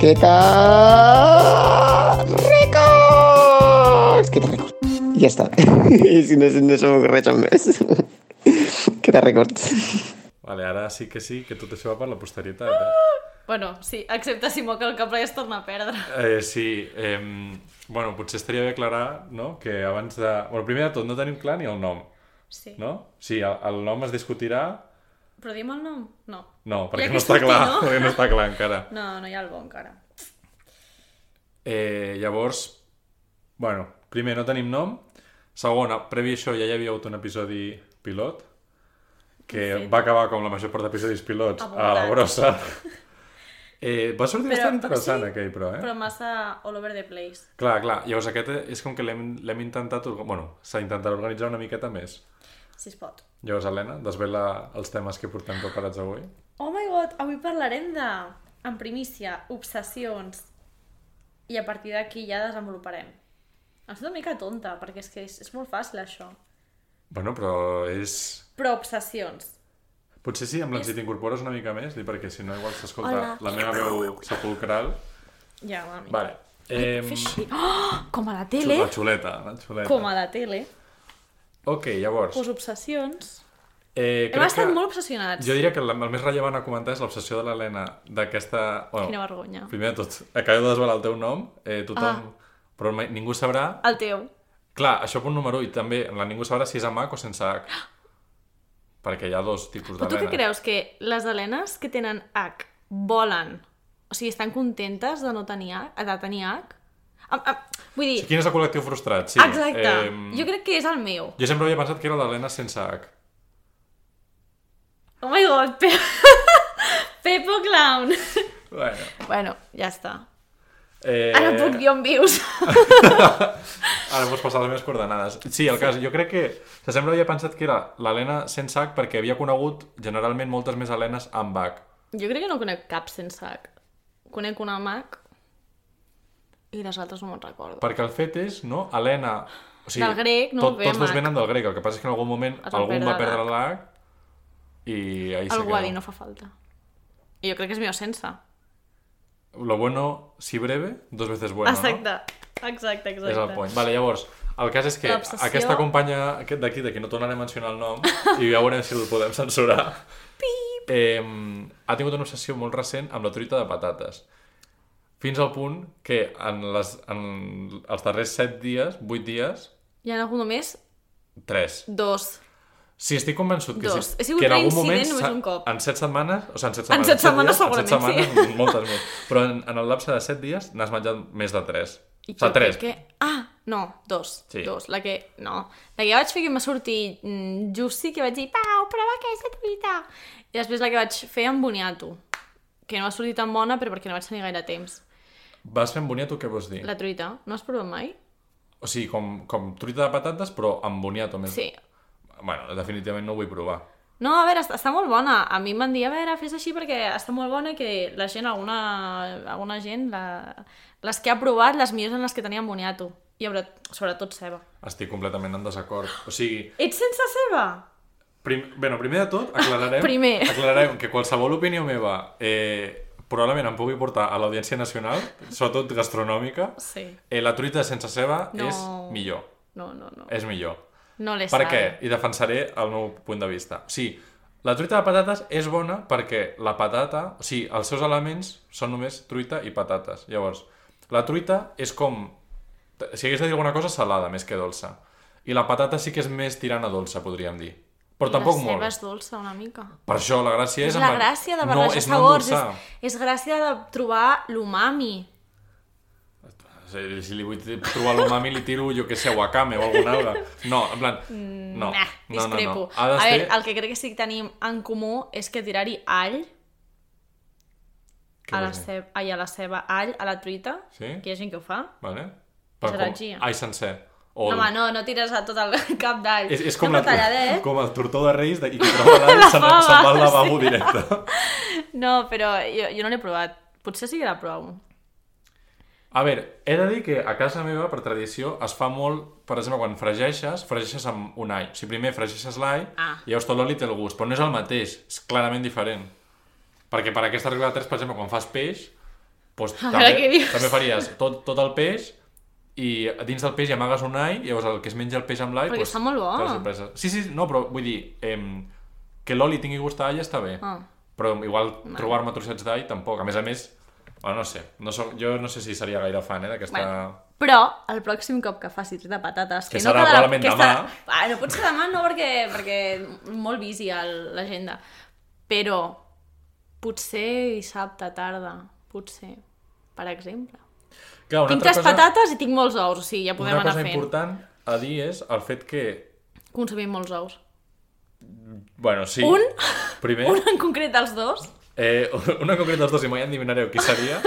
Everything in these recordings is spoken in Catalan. ¡Qué ca- ricos! ¡Qué ricos! Y ya está. Y si no, si no som més. Que te records. Vale, ara sí que sí, que tot això va per la posteritat. Eh? Bueno, sí, excepte si moca el cap i es torna a perdre. Eh, sí, eh, bueno, potser estaria bé aclarar no? que abans de... Bueno, primer de tot, no tenim clar ni el nom, Sí. no? Sí, el, el nom es discutirà... Però diem el nom? No. No, perquè que no està surti, clar, no? perquè no està clar encara. No, no hi ha el bo encara. Eh, llavors, bueno, primer, no tenim nom. Segon, previ a això ja hi havia hagut un episodi pilot que Sí. va acabar com la major part d'episodis pilots a la Abundant. brossa. Eh, va sortir Però- bastant interessant sí, aquell, però, eh? Però massa all over the place. Clar, clar. Llavors aquest és com que l'hem l'hem intentat... orga- Bueno, s'ha intentat organitzar una miqueta més. Si es pot. Llavors, Helena, desvela els temes que portem preparats avui. Oh my god, avui parlarem de, en primícia, obsessions. I a partir d'aquí ja desenvoluparem. Em sento una mica tonta, perquè és que és, és molt fàcil això. Bueno, però és... Però obsessions. Potser sí, amb l'enci t'incorpores una mica més, perquè si no igual s'escolta Hola. la meva veu sepulcral. Ja, mami. Vale. Eh, Així. Oh, com a la tele. la xuleta, la xuleta. Com a la tele. Ok, llavors... Pues obsessions. eh, Hem estat molt obsessionats. Jo diria que la- el més rellevant a comentar és l'obsessió de l'Helena d'aquesta... Bueno, Quina vergonya. Primer de tot, acabeu de desvelar el teu nom, eh, tothom... Ah. Però mai, ningú sabrà... El teu. Clar, això punt número 1, i també la ningú sabrà si és amb H o sense H. Perquè hi ha dos tipus Però tu d'Helena. què creus? Que les helenes que tenen H volen? O sigui, estan contentes de no tenir H? De tenir H? Am, am, vull dir, Sí, quin és el col·lectiu frustrat? Sí, exacte. Jo crec que és el meu. jo sempre havia pensat que era l'Helena sense H. Oh my god, Pe... Pepo Clown. Bueno. bueno, ja està. Eh... Ara puc dir on vius. Ara vos passar les meves coordenades. Sí, el cas, jo crec que... Se sembla havia pensat que era l'Helena sense H perquè havia conegut generalment moltes més Helenes amb H. jo crec que no conec cap sense H. Conec una Mac i les altres no me'n recordo. Perquè el fet és, no? Helena... O Del grec, no? Tot, Ve tots amb dos H. venen del grec. El que passa és que en algun moment Es van algun va perdre perdre l'H i ahí Algú ha se dit, no queda. fa falta. I jo crec que és millor sense. Lo bueno, si breve, dos veces bueno, exacte. Exacte, no? exacte. És el point. Vale, llavors, el cas és que L'obsessió. aquesta companya aquest d'aquí, de qui no tornaré a mencionar el nom, i ja veurem si el podem censurar, eh, ha tingut una obsessió molt recent amb la truita de patates. Fins al punt que en, les, en els darrers 7 dies, 8 dies, Hi ha algú només 3. dos. Sí, estic convençut que, Dos. sí, He sigut que en algun reincident moment, només s'ha- un cop. en 7 setmanes, o sigui, en 7 En setmanes, set setmanes dies, en set segurament, setmanes, moltes més. Però en, en el lapse de 7 dies n'has menjat més de 3. O I sigui, jo 3. crec Que... Ah, no, dos. Sí. Sí. Dos. La que... No. La que vaig fer que em va sortir mm, justi, que vaig dir, Pau, prova aquesta truita. I després la que vaig fer amb boniato, que no va sortir tan bona, però perquè no vaig tenir gaire temps. Vas fent boniato, què vols dir? La... La truita, no has provat mai? O sigui, com, com truita de patates, però amb boniato més. Sí. Bueno, definitivament no ho vull provar. No, a veure, està, està molt bona. A mi em van dir, a veure, fes així perquè està molt bona i que la gent, alguna, alguna gent, la... les que ha provat, les millors en les que tenien boniato. I a veure, sobretot ceba. Estic completament en desacord. O sigui, Ets sense ceba? Prim... Bueno, primer de tot, aclararem, Primer. aclararem que qualsevol opinió meva eh, probablement em pugui portar a l'audiència nacional, sobretot gastronòmica. Sí. Eh, la truita sense ceba No. és millor. No, no, no. És millor. No les Per sabe. què? I defensaré el meu punt de vista. O sigui, la truita de patates és bona perquè la patata, o sigui, els seus elements són només truita i patates. Llavors, la truita és com... Si hagués de dir alguna cosa, salada més que dolça. I la patata sí que és més tirant a dolça, podríem dir. Però tampoc la molt. ceba és dolça una mica. Per això la gràcia és... És la amb- gràcia de no, barrejar és sabors, No és, és gràcia de trobar l'umami. endolçar. Eh, Si li vull trobar l'umami, li tiro, jo que sé, wakame o alguna cosa. No, en plan... No, Mm, Nah, no, no, discrepo. no. Ha de a ser... veure, el que crec que sí que tenim en comú és que tirar-hi all Què a la, vols dir? ceba, ai, a la ceba, all a la truita, Sí? que hi ha gent que ho fa. Vale? És heretgia. Ai, sencer. O... No, home, no, no tires a tot el cap d'all. eh? És, és com, no, la, però talladet. com el tortó de Reis de, i que troba l'all se'n fava, se va al lavabo directe. No, però jo, jo no l'he provat. Potser sí que la provo. A veure, he de dir que a casa meva, per tradició, es fa molt, per exemple, quan fregeixes, fregeixes amb un all. O sigui, primer fregeixes l'all Ah. i llavors tot l'oli té el gust, però no és el mateix, és clarament diferent. Perquè per aquesta regla de tres, per exemple, quan fas peix, Pues, A també, veure què dius. també faries tot, tot el peix i a dins del peix hi amagues un all, i llavors el que es menja el peix amb l'all... doncs, Perquè està molt bo. té la sorpresa. Sí, sí, no, però vull dir, em, que l'oli tingui gust d'all està bé, Ah. però igual trobar-me trossets d'all tampoc. A més a més, bueno, no sé, no soc, jo no sé si seria gaire fan eh, d'aquesta... Bueno, però el pròxim cop que faci truita de patates... Que serà probablement demà. Ah, no pot ser demà, no, perquè, perquè molt busy el- l'agenda. Però potser dissabte tarda, potser, per exemple. Clar, Tinc tres patates i tinc molts ous, o sigui, ja podem una anar cosa fent. important a dir és el fet que... Consumim molts ous. Bueno, sí. Un? Primer, Un en concret dels dos? Eh, una concreta dels dos, i mai endivinareu qui seria.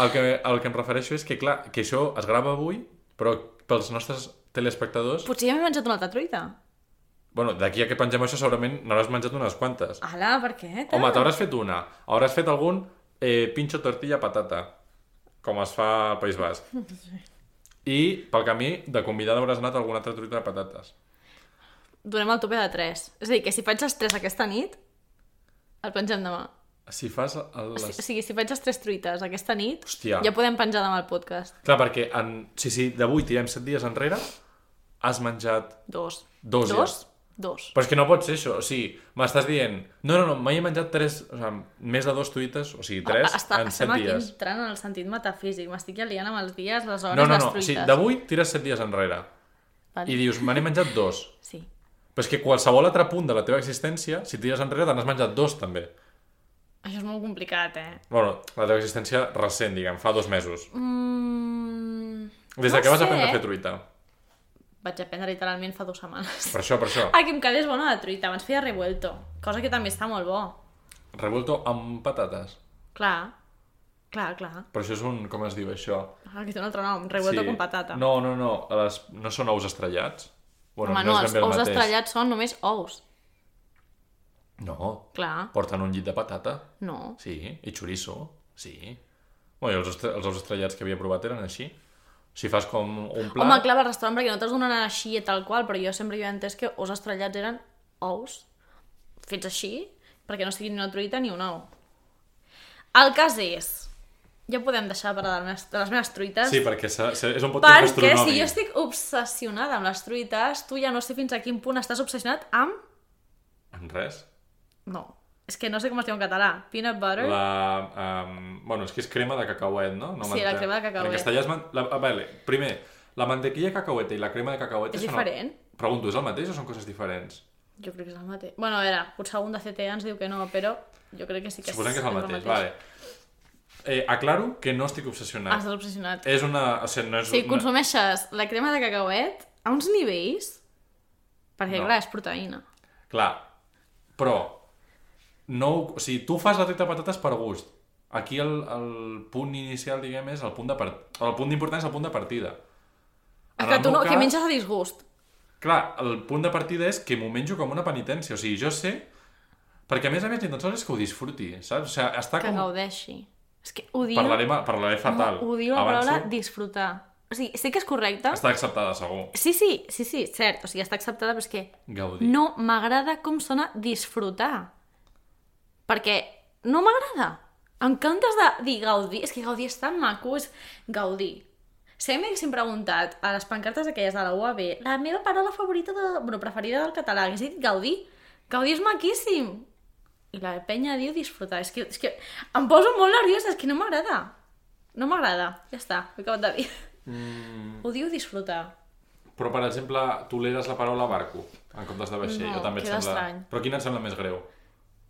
El que, el que em refereixo és que, clar, que això es grava avui, però pels nostres telespectadors... Potser ja m'he menjat una altra truita. Bueno, d'aquí a que pengem això segurament n'hauràs menjat unes quantes. Ala, per què? Home, t'hauràs fet una. Hauràs fet algun eh, pinxo tortilla patata, com es fa al País Basc. I pel camí de convidada hauràs anat a alguna altra truita de patates. Donem el tope de 3. És a dir, que si faig els 3 aquesta nit, el pengem demà. Si fas el, O les... si- o sigui, si faig les 3 truites aquesta nit, Hòstia. ja podem penjar demà el podcast. Clar, perquè en... si, si d'avui tirem set dies enrere, has menjat Dos. Dos, ja. Dos? Dos. Però és que no pot ser això, o sigui, m'estàs dient no, no, no, mai he menjat tres, o sigui, més de dos tuites, o sigui, tres Ah, està, en set estem aquí dies. entrant en el sentit metafísic. M'estic ja liant amb els dies, les hores, No, no, les no, o truites. sigui, d'avui tires set dies enrere Vale. i dius, me n'he menjat dos. Sí. Però és que qualsevol altre punt de la teva existència, si tires enrere, te n'has menjat dos també. Això és molt complicat, eh? Bueno, la teva existència recent, diguem, fa dos mesos. Mm... Des no de que vas sé, aprendre eh? a fer truita. Vaig aprendre literalment fa dues setmanes. Per això, per això. Ah, que em quedés bona de truita. Abans feia revuelto, cosa que també està molt bo. Revuelto amb patates. Clar, clar, clar. Però això és un, com es diu això? Ah, que té un altre nom, revuelto sí. con patata. No, no, no, les... no són ous estrellats? Bueno, Home, no, és ben els bé el ous mateix. estrellats són només ous. No, Clar, Porten un llit de patata, no. sí, i chorizo, sí. Bueno, i els, ostre- els ous estrellats que havia provat eren així. Si fas com un plat... Home, clar, al restaurant perquè no te'ls donen així i tal qual, però jo sempre hi havia entès que ous estrellats eren ous fets així, perquè no siguin ni una truita ni un ou. El cas és... Ja podem deixar de parlar de les meves, de les meves truites. Sí, perquè se, se, és un pot perquè si jo estic obsessionada amb les truites, tu ja no sé fins a quin punt estàs obsessionat amb... En res. No, és que no sé com es diu en català. Peanut butter? La, um, bueno, és que és crema de cacauet, no? no Sí, m'entenc. la crema de cacauet. En castellà és... Man... La, ah, vale, primer, la mantequilla de cacauete i la crema de cacauete... És són el- diferent? Pregunto, és el mateix o són coses diferents? Jo crec que és el mateix. Bueno, a veure, potser algun de CTA ens diu que no, però jo crec que sí que Suposem que és el mateix, vale. Eh, aclaro que no estic obsessionat. Estàs obsessionat. És una... O sigui, no és Si una- consumeixes la crema de cacauet a uns nivells... Perquè, No. clar, és proteïna. Clar, però no, ho- o sigui, tu fas la truita de patates per gust. Aquí el, el punt inicial, diguem, és el punt de part... el punt d'important és el punt de partida. Ah, En clar, el tu meu no, que menges a disgust. Clar, el punt de partida és que m'ho menjo com una penitència. O sigui, jo sé... Perquè, a més a més, ni tan sols és que ho disfruti, saps? O sigui, està Que com... gaudeixi. És que odio... Parlaré, ma- parlaré fatal. Odio la Avanço. paraula disfrutar. O sigui, sé que és correcta. Està acceptada, segur. Sí, sí, sí, sí, cert. O sigui, està acceptada, però és que Gaudir. no m'agrada com sona disfrutar. Perquè no m'agrada. En comptes de dir gaudir, és que gaudir és tan maco, és gaudir. Sempre que sempre he preguntat a les pancartes aquelles de la UAB, la meva paraula favorita, de, bueno, preferida del català, hagués dit gaudir. Gaudir és maquíssim. I la penya diu disfrutar. És que, és que em poso molt nerviosa, és que no m'agrada. No m'agrada. Ja està, ho he acabat de dir. Mm. Odio disfrutar. Però, per exemple, toleres la paraula barco, en comptes de vaixell. No, o també et queda sembla... estrany. Però quina et sembla més greu?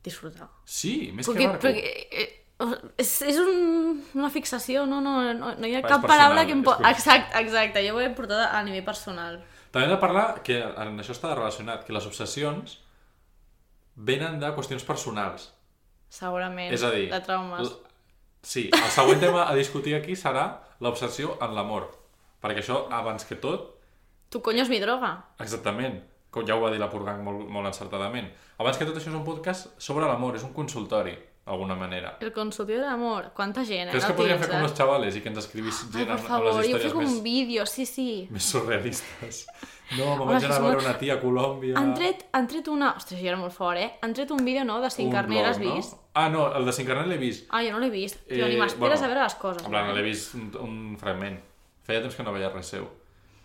Disfrutar. Sí, més Perquè, que barco. perquè eh, eh, és, és un, una fixació, no, no, no, no hi ha És cap personal, paraula que em pot... és Exacte, exacte, jo ho he portat a nivell personal. També hem de parlar, que en això està relacionat, que les obsessions venen de qüestions personals. Segurament, És a dir... de traumes. l- Sí, el següent tema a discutir aquí serà l'obsessió en l'amor. Perquè això, abans que tot, Tu coño és mi droga. exactament, com ja ho va dir la Purgang molt, molt encertadament, abans que tot això és un podcast sobre l'amor, és un consultori. d'alguna manera. El consultiu de l'amor. Quanta gent, eh? Creus que el podríem Tinder? fer com els xavales i que ens escrivís Ai, gent per amb, amb favor, les jo històries faig un més, vídeo, sí, sí. més surrealistes? No, me'n Home, vaig anar a és veure molt- una tia a Colòmbia... Han tret, han tret una... Ostres, jo era molt fort, eh? Han tret un vídeo, no?, de un Cincarner, blog, has vist? No? Ah, no, el de Cincarnet l'he vist. Ah, jo no l'he vist. Tio, ni m'esperes a veure les coses. Eh, eh? En plan, no? l'he vist un, un fragment. Feia temps que no veia res seu.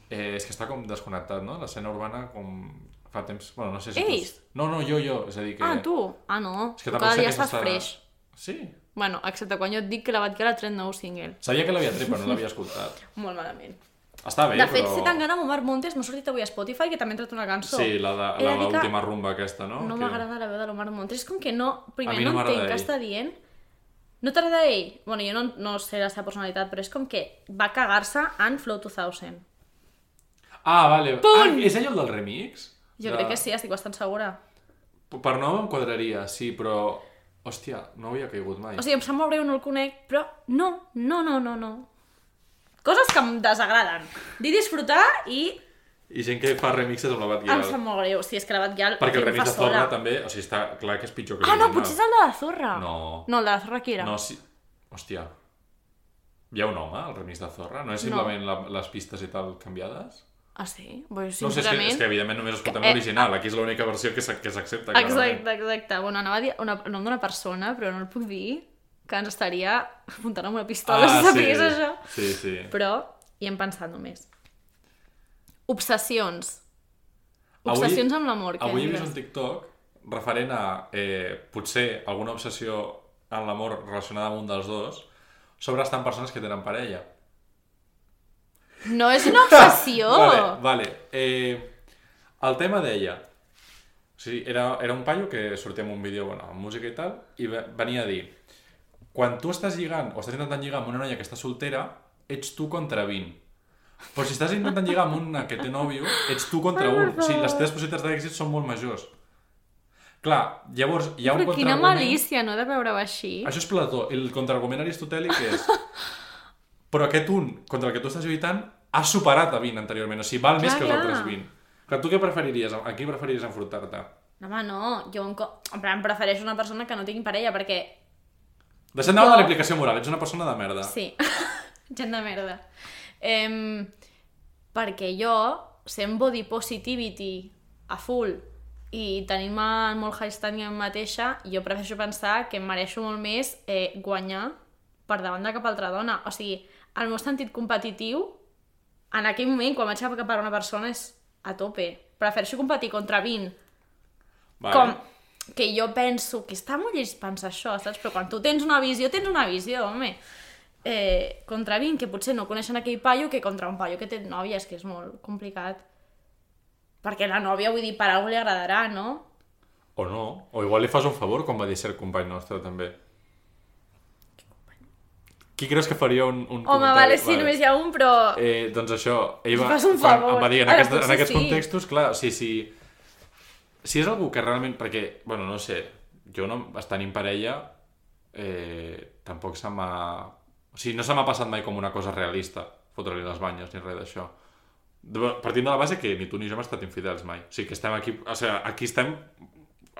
Eh, és que està com desconnectat, no? L'escena urbana com fa temps... Bueno, no sé si... tu- Ells? No, no, jo, jo. És a dir que... Ah, tu? Ah, no. És que Tu tampoc cada sé dia què estàs s'està- fresh. Sí. Bueno, excepte quan jo et dic que la Batguera ha tret nou single. Sabia que l'havia tret, però no l'havia escoltat. Molt malament. Està bé, de fet, però... si tan gana amb Omar Montes, m'ha sortit avui a Spotify, que també ha tret una cançó. Sí, la de- He la de dir que l'última rumba aquesta, no? No Que- m'agrada la veu de l'Omar Montes. És com que no... A Primer, mi no no, entenc m'agrada què ell. està dient. No t'agrada ell? Bueno, jo no, no sé la seva personalitat, però és com que va cagar-se en Flow 2000. Ah, vale. Punt! Ah, és ell el del remix? Jo De- crec que sí, estic bastant segura. Per nom em quadraria, sí, però... Hòstia, no havia caigut mai. O sigui, em sap molt greu, no el conec, però no, no, no, no, no. Coses que em desagraden. Dir disfrutar i I gent que fa remixes amb la Bad em sap molt greu. Si és que la Batgirl... Perquè el em fa remix de sola. Zorra també... O sigui, està clar que és pitjor que Ah, no, l'original. potser és el de la Zorra. No. No, el de la Zorra qui era? No, sí... Hòstia. Hi ha un home al remix de Zorra? No és simplement la, les pistes i tal canviades? Ah, sí? Pues, No sé, és que, sincerament... és que evidentment només escoltem Que- eh, l'original. Aquí és l'única versió que s'ac- que s'accepta. clarament. Exacte, exacte. Bueno, anava a dir una, el nom d'una persona, però no el puc dir, que ens estaria apuntant amb una pistola si sapigués Ah, sí. això. Sí, sí. Però hi hem pensat només. Obsessions. Avui- Obsessions amb l'amor. què Avui he vist dius? un TikTok referent a eh, potser alguna obsessió en l'amor relacionada amb un dels dos sobre estar amb persones que tenen parella. No és una obsessió! Vale, vale. Eh, el tema deia... O sigui, era, era un paio que sortia amb un vídeo, bueno, amb música i tal, i ve- venia a dir quan tu estàs lligant o estàs intentant lligar amb una noia que està soltera, ets tu contra 20. Però si estàs intentant lligar amb una que té nòvio, ets tu contra Ai, per un. O sigui, les favor. teves possibilitats d'èxit són molt majors. Clar, llavors hi ha un Però quina contraargument... malícia, no, de veure-ho així. Això és Plató. El contraargument aristotèlic és... Però aquest un contra el que tu estàs lluitant ha superat a 20 anteriorment. O sigui, val més Clar, que els clar. altres 20. Clar, tu què preferiries? A qui preferiries enfrontar-te? No, home, no. Jo un co- en plan, prefereixo una persona que no tingui parella, perquè... Deixa't anar Jo. de l'aplicació moral. Ets una persona de merda. Sí. Gent de merda. Em... perquè jo, sent body positivity a full i tenint-me en molt high standing a mi mateixa, jo prefereixo pensar que em mereixo molt més eh, guanyar per davant de cap altra dona. O sigui, el meu sentit competitiu, en aquell moment, quan vaig cap cap a una persona, és a tope. Prefereixo competir contra 20 Vale. com que jo penso que està molt lleig pensar això, saps? Però quan tu tens una visió, tens una visió, home. Eh, contra 20, que potser no coneixen aquell paio, que contra un paio que té nòvia, és que és molt complicat. Perquè la nòvia, vull dir, per alguna li agradarà, no? O no. O igual li fas un favor, com va dir cert company nostre, també. Qui creus que faria un, un Home, comentari? vale, sí, només hi ha un, però... Eh, doncs això, ell va, Fas un quan favor. em va dir en, Ara, aquest, en potser aquests sí. contextos, clar, o sigui, si, si és algú que realment, perquè, bueno, no sé, jo no, estant en parella, eh, tampoc se m'ha... O sigui, no se m'ha passat mai com una cosa realista, fotre-li les banyes ni res d'això. De- Partint de la base que ni tu ni jo hem estat infidels mai. O sigui, que estem aquí, o sigui, aquí estem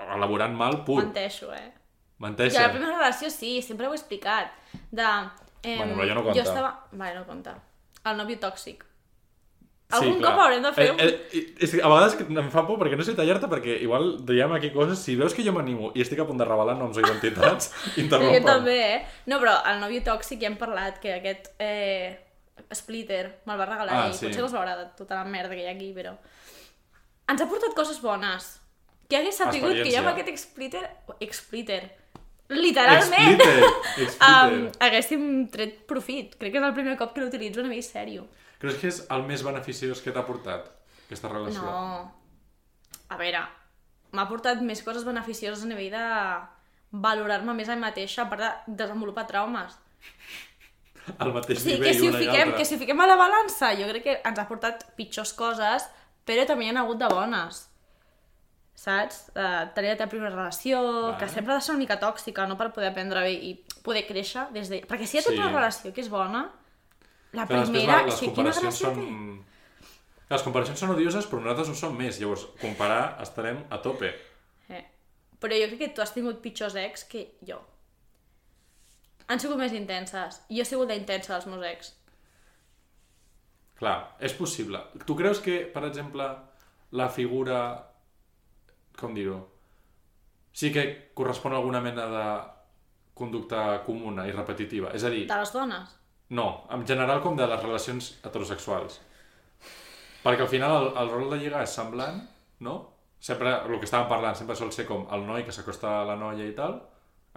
elaborant mal pur. Menteixo, eh? Jo Menteixen. a la primera relació sí, sempre ho he explicat. De, eh, Bueno, però ja no compta. Jo estava... Vale, no compta. El nòvio tòxic. Algun cop haurem de fer un- Eh, eh, és que a vegades que em fa por perquè no sé tallar-te, perquè igual diem aquí coses... Si veus que jo m'animo i estic a punt de revelar noms o identitats, Sí, jo interrompa. també, eh? No, però el nòvio tòxic ja hem parlat que aquest eh, splitter me'l va regalar Ah, ell. sí. Potser no es veurà de tota la merda que hi ha aquí, però... Ens ha portat coses bones. Que hagués sabut que jo amb Experiència. aquest splitter... Splitter. Literalment! Explitter, Um, explitter. haguéssim tret profit. Crec que és el primer cop que l'utilitzo a nivell sèrio. Creus que és el més beneficiós que t'ha portat, aquesta relació? No. A veure, m'ha portat més coses beneficioses a nivell de valorar-me més a mi mateixa, a part de desenvolupar traumes. Al mateix Sí, nivell que si, ho una i fiquem, l'altra. que si ho fiquem a la balança, jo crec que ens ha portat pitjors coses, però també hi ha hagut de bones. Saps? Uh, tenir la teva primera relació, Vale. que sempre ha de ser una mica tòxica, no? Per poder aprendre bé i poder créixer des de... Perquè si ja tens Sí. una relació que és bona, la Clar, després primera... va- és les que quina comparacions gràcia són... té? Les comparacions són odioses, però nosaltres ho som més. Llavors, comparar estarem a tope. Eh. Però jo crec que tu has tingut pitjors ex que jo. han sigut més intenses. Jo he sigut la intensa dels meus ex. Clar, és possible. Tu creus que, per exemple, la figura... Com dir-ho? Sí que correspon a alguna mena de conducta comuna i repetitiva. És a dir, De les dones. no, en general com de les relacions heterosexuals. Perquè al final el, el rol de lligar és semblant, no? Sempre, el que estàvem parlant, sempre sol ser com el noi que s'acosta a la noia i tal.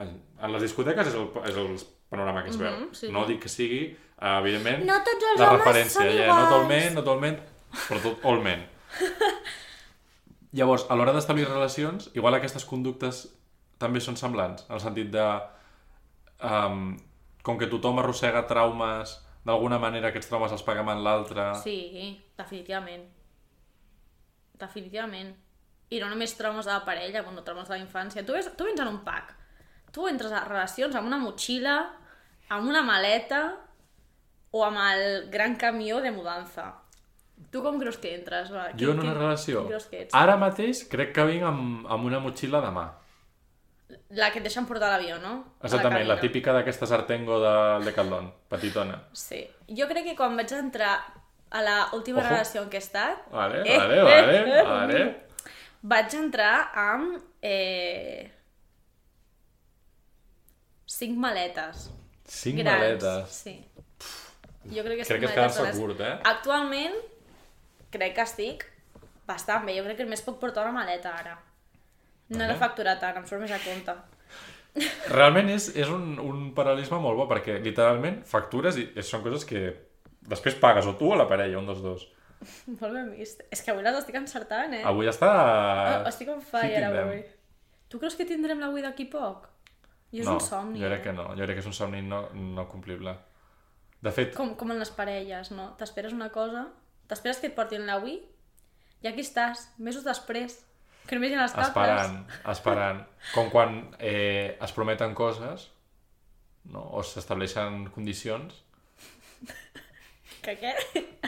En, en les discoteques és el, és el panorama que es veu. Mhm, sí. No dic que sigui, eh, evidentment, No tots els la homes referència. són ja, iguals. no totalment, no totalment, però tot all men. Llavors, a l'hora d'establir relacions, igual aquestes conductes també són semblants, en el sentit de... Um, com que tothom arrossega traumes, d'alguna manera aquests traumes els paga amb l'altre... Sí, definitivament. Definitivament. I no només traumes de la parella, bueno, traumes de la infància. Tu, ves, tu vens en un pack. Tu entres a relacions amb una motxilla, amb una maleta o amb el gran camió de mudança. Tu com creus que entres? Va? Jo en una relació... Ah. Qui creus que ets? Ara mateix crec que vinc amb, amb una motxilla de mà. La que et deixen portar a l'avió, no? A Exactament, la, cabina. típica d'aquestes Artengo del Decathlon, petitona. Sí. Jo crec que quan vaig entrar a la última Ojo. relació en què he estat, Vale, Eh, vale, eh, vale, eh. vale. Vaig entrar amb... Eh... Cinc maletes. Cinc grans. maletes. Sí. Jo crec Crec que que és cinc maletes quedar-se grans. curt, eh? Actualment, crec que estic bastant bé. Jo crec que només puc portar una maleta ara. No he Vale. de facturar tant, em surt més a compte. Realment és, és un, un paral·lelisme molt bo, perquè literalment factures i, i són coses que després pagues o tu o la parella, un dels dos. Molt ben vist. És que avui les estic encertant, eh? Avui està... Ah, Estic on fire hitting them. avui. Tu creus que tindrem l'avui d'aquí poc? Jo és no, un somni. jo eh? crec que no, jo crec que és un somni no, no complible. De fet, com, com en les parelles, no? T'esperes una cosa, t'esperes que et portin l'avui, i aquí estàs, mesos després, que només hi ha les capes. esperant, esperant, com quan eh, es prometen coses no? o s'estableixen condicions Que què?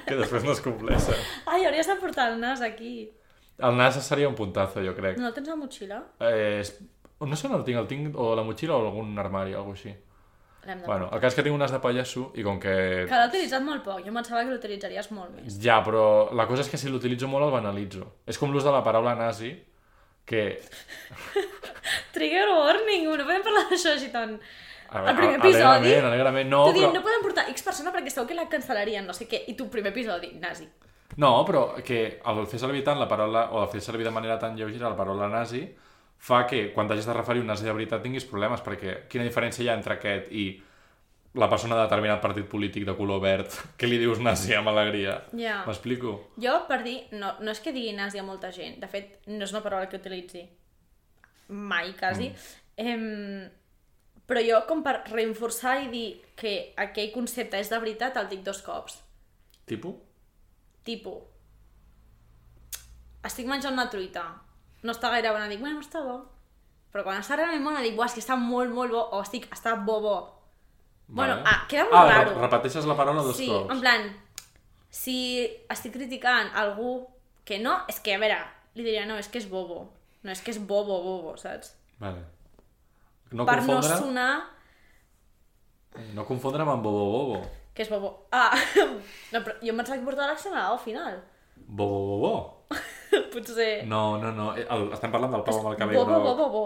que després no es compleixen. Ai, hauries de portar el nas aquí. El nas seria un puntazo, jo crec. No el tens a la motxilla? Eh, és... No sé on el tinc, el tinc o a la motxilla o a algun armari, alguna cosa així. L'hem de... Bueno, el cas és que tinc un nas de pallasso i com que... Que l'ha utilitzat molt poc, jo em pensava que l'utilitzaries molt més. Ja, però la cosa és que si l'utilitzo molt el banalitzo. És com l'ús de la paraula nazi, que... Trigger warning, no podem parlar d'això així tant. A- El primer a- episodi? Alegrament, alegrament. No, Tu però, dius, no podem portar X persona perquè segur que la cancel·larien, no sé què, i tu primer episodi, nazi. no, però que el fer servir tant la paraula, o el fer servir de manera tan lleugera la paraula nazi, fa que quan t'hagis de referir a un nazi de veritat tinguis problemes, perquè quina diferència hi ha entre aquest i la persona de determinat partit polític de color verd que li dius nazi amb alegria. Ja. M'explico? Jo, per dir, no, no és que digui nazi a molta gent, de fet, no és una paraula que utilitzi mai, quasi. Mm. Em... Però jo, com per reforçar i dir que aquell concepte és de veritat, el dic dos cops. Tipo? Tipo, estic menjant una truita, no està gaire bona, dic, bueno, està bo. Però quan està realment bona, dic, buah, és que està molt, molt bo, o estic, està bo, bo. Bueno, ah, queda molt ah, re- raro. repeteixes la paraula dos Sí, cops. en plan, si estic criticant algú que no, és que, a veure, li diria, no, és que és bobo. No, és que és bobo, bobo, saps? Vale. No per confondre... no sonar No confondre amb Bobo Bobo. que és bobo. Ah, no, però jo em pensava que portava l'accent a la O final. Bobo Bobo. Potser... No, no, no. eh, El, estem parlant del pau amb el cabell bobo, groc. bobo, bobo.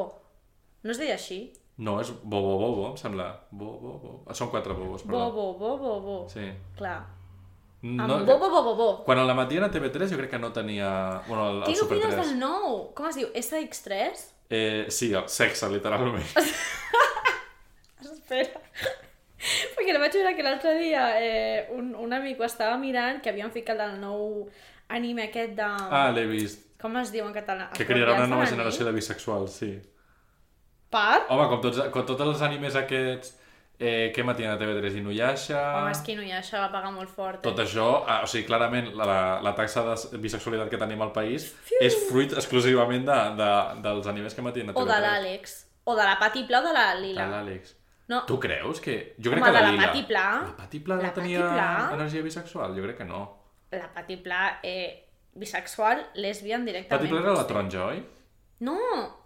No es deia així? No, és Bobo Bobo, em sembla. Bobo Bobo. Són quatre bobos, perdó. Bobo, bobo, bobo. Sí. Clar. Amb No, eh, bobo, bobo, bobo. Quan a la matina a TV3 jo crec que no tenia... Bueno, el, Què el Super opines 3. del nou? Com es diu? SX3? Eh, sí, el sexe, literalment. Espera. Perquè no vaig veure que l'altre dia eh, un, un amic ho estava mirant, que havien ficat el nou anime aquest de... Ah, l'he vist. Com es diu en català? Que crearà una nova Apropiats de l'anell? generació de bisexuals, sí. Per? Home, com tots, com tots els animes aquests... Eh, què matina de TV3? Inuyasha... Home, és que no, ja això va pagar molt fort. Ah. Tot això, eh, o sigui, clarament la, la, la taxa de bisexualitat que tenim al país és fruit exclusivament de, de, dels animes que matien a O de TV3. l'Àlex. O de la Pati Pla o de la Lila. De l'Àlex. No, Tu creus que... Jo crec Home, que la, de la Lila... Pati Pla. La Pati Pla La no Pati tenia Pla. energia bisexual? Jo crec que no. la Pati Pla, eh, bisexual, lesbian Pati directament. Pla era la taronja, oi? No,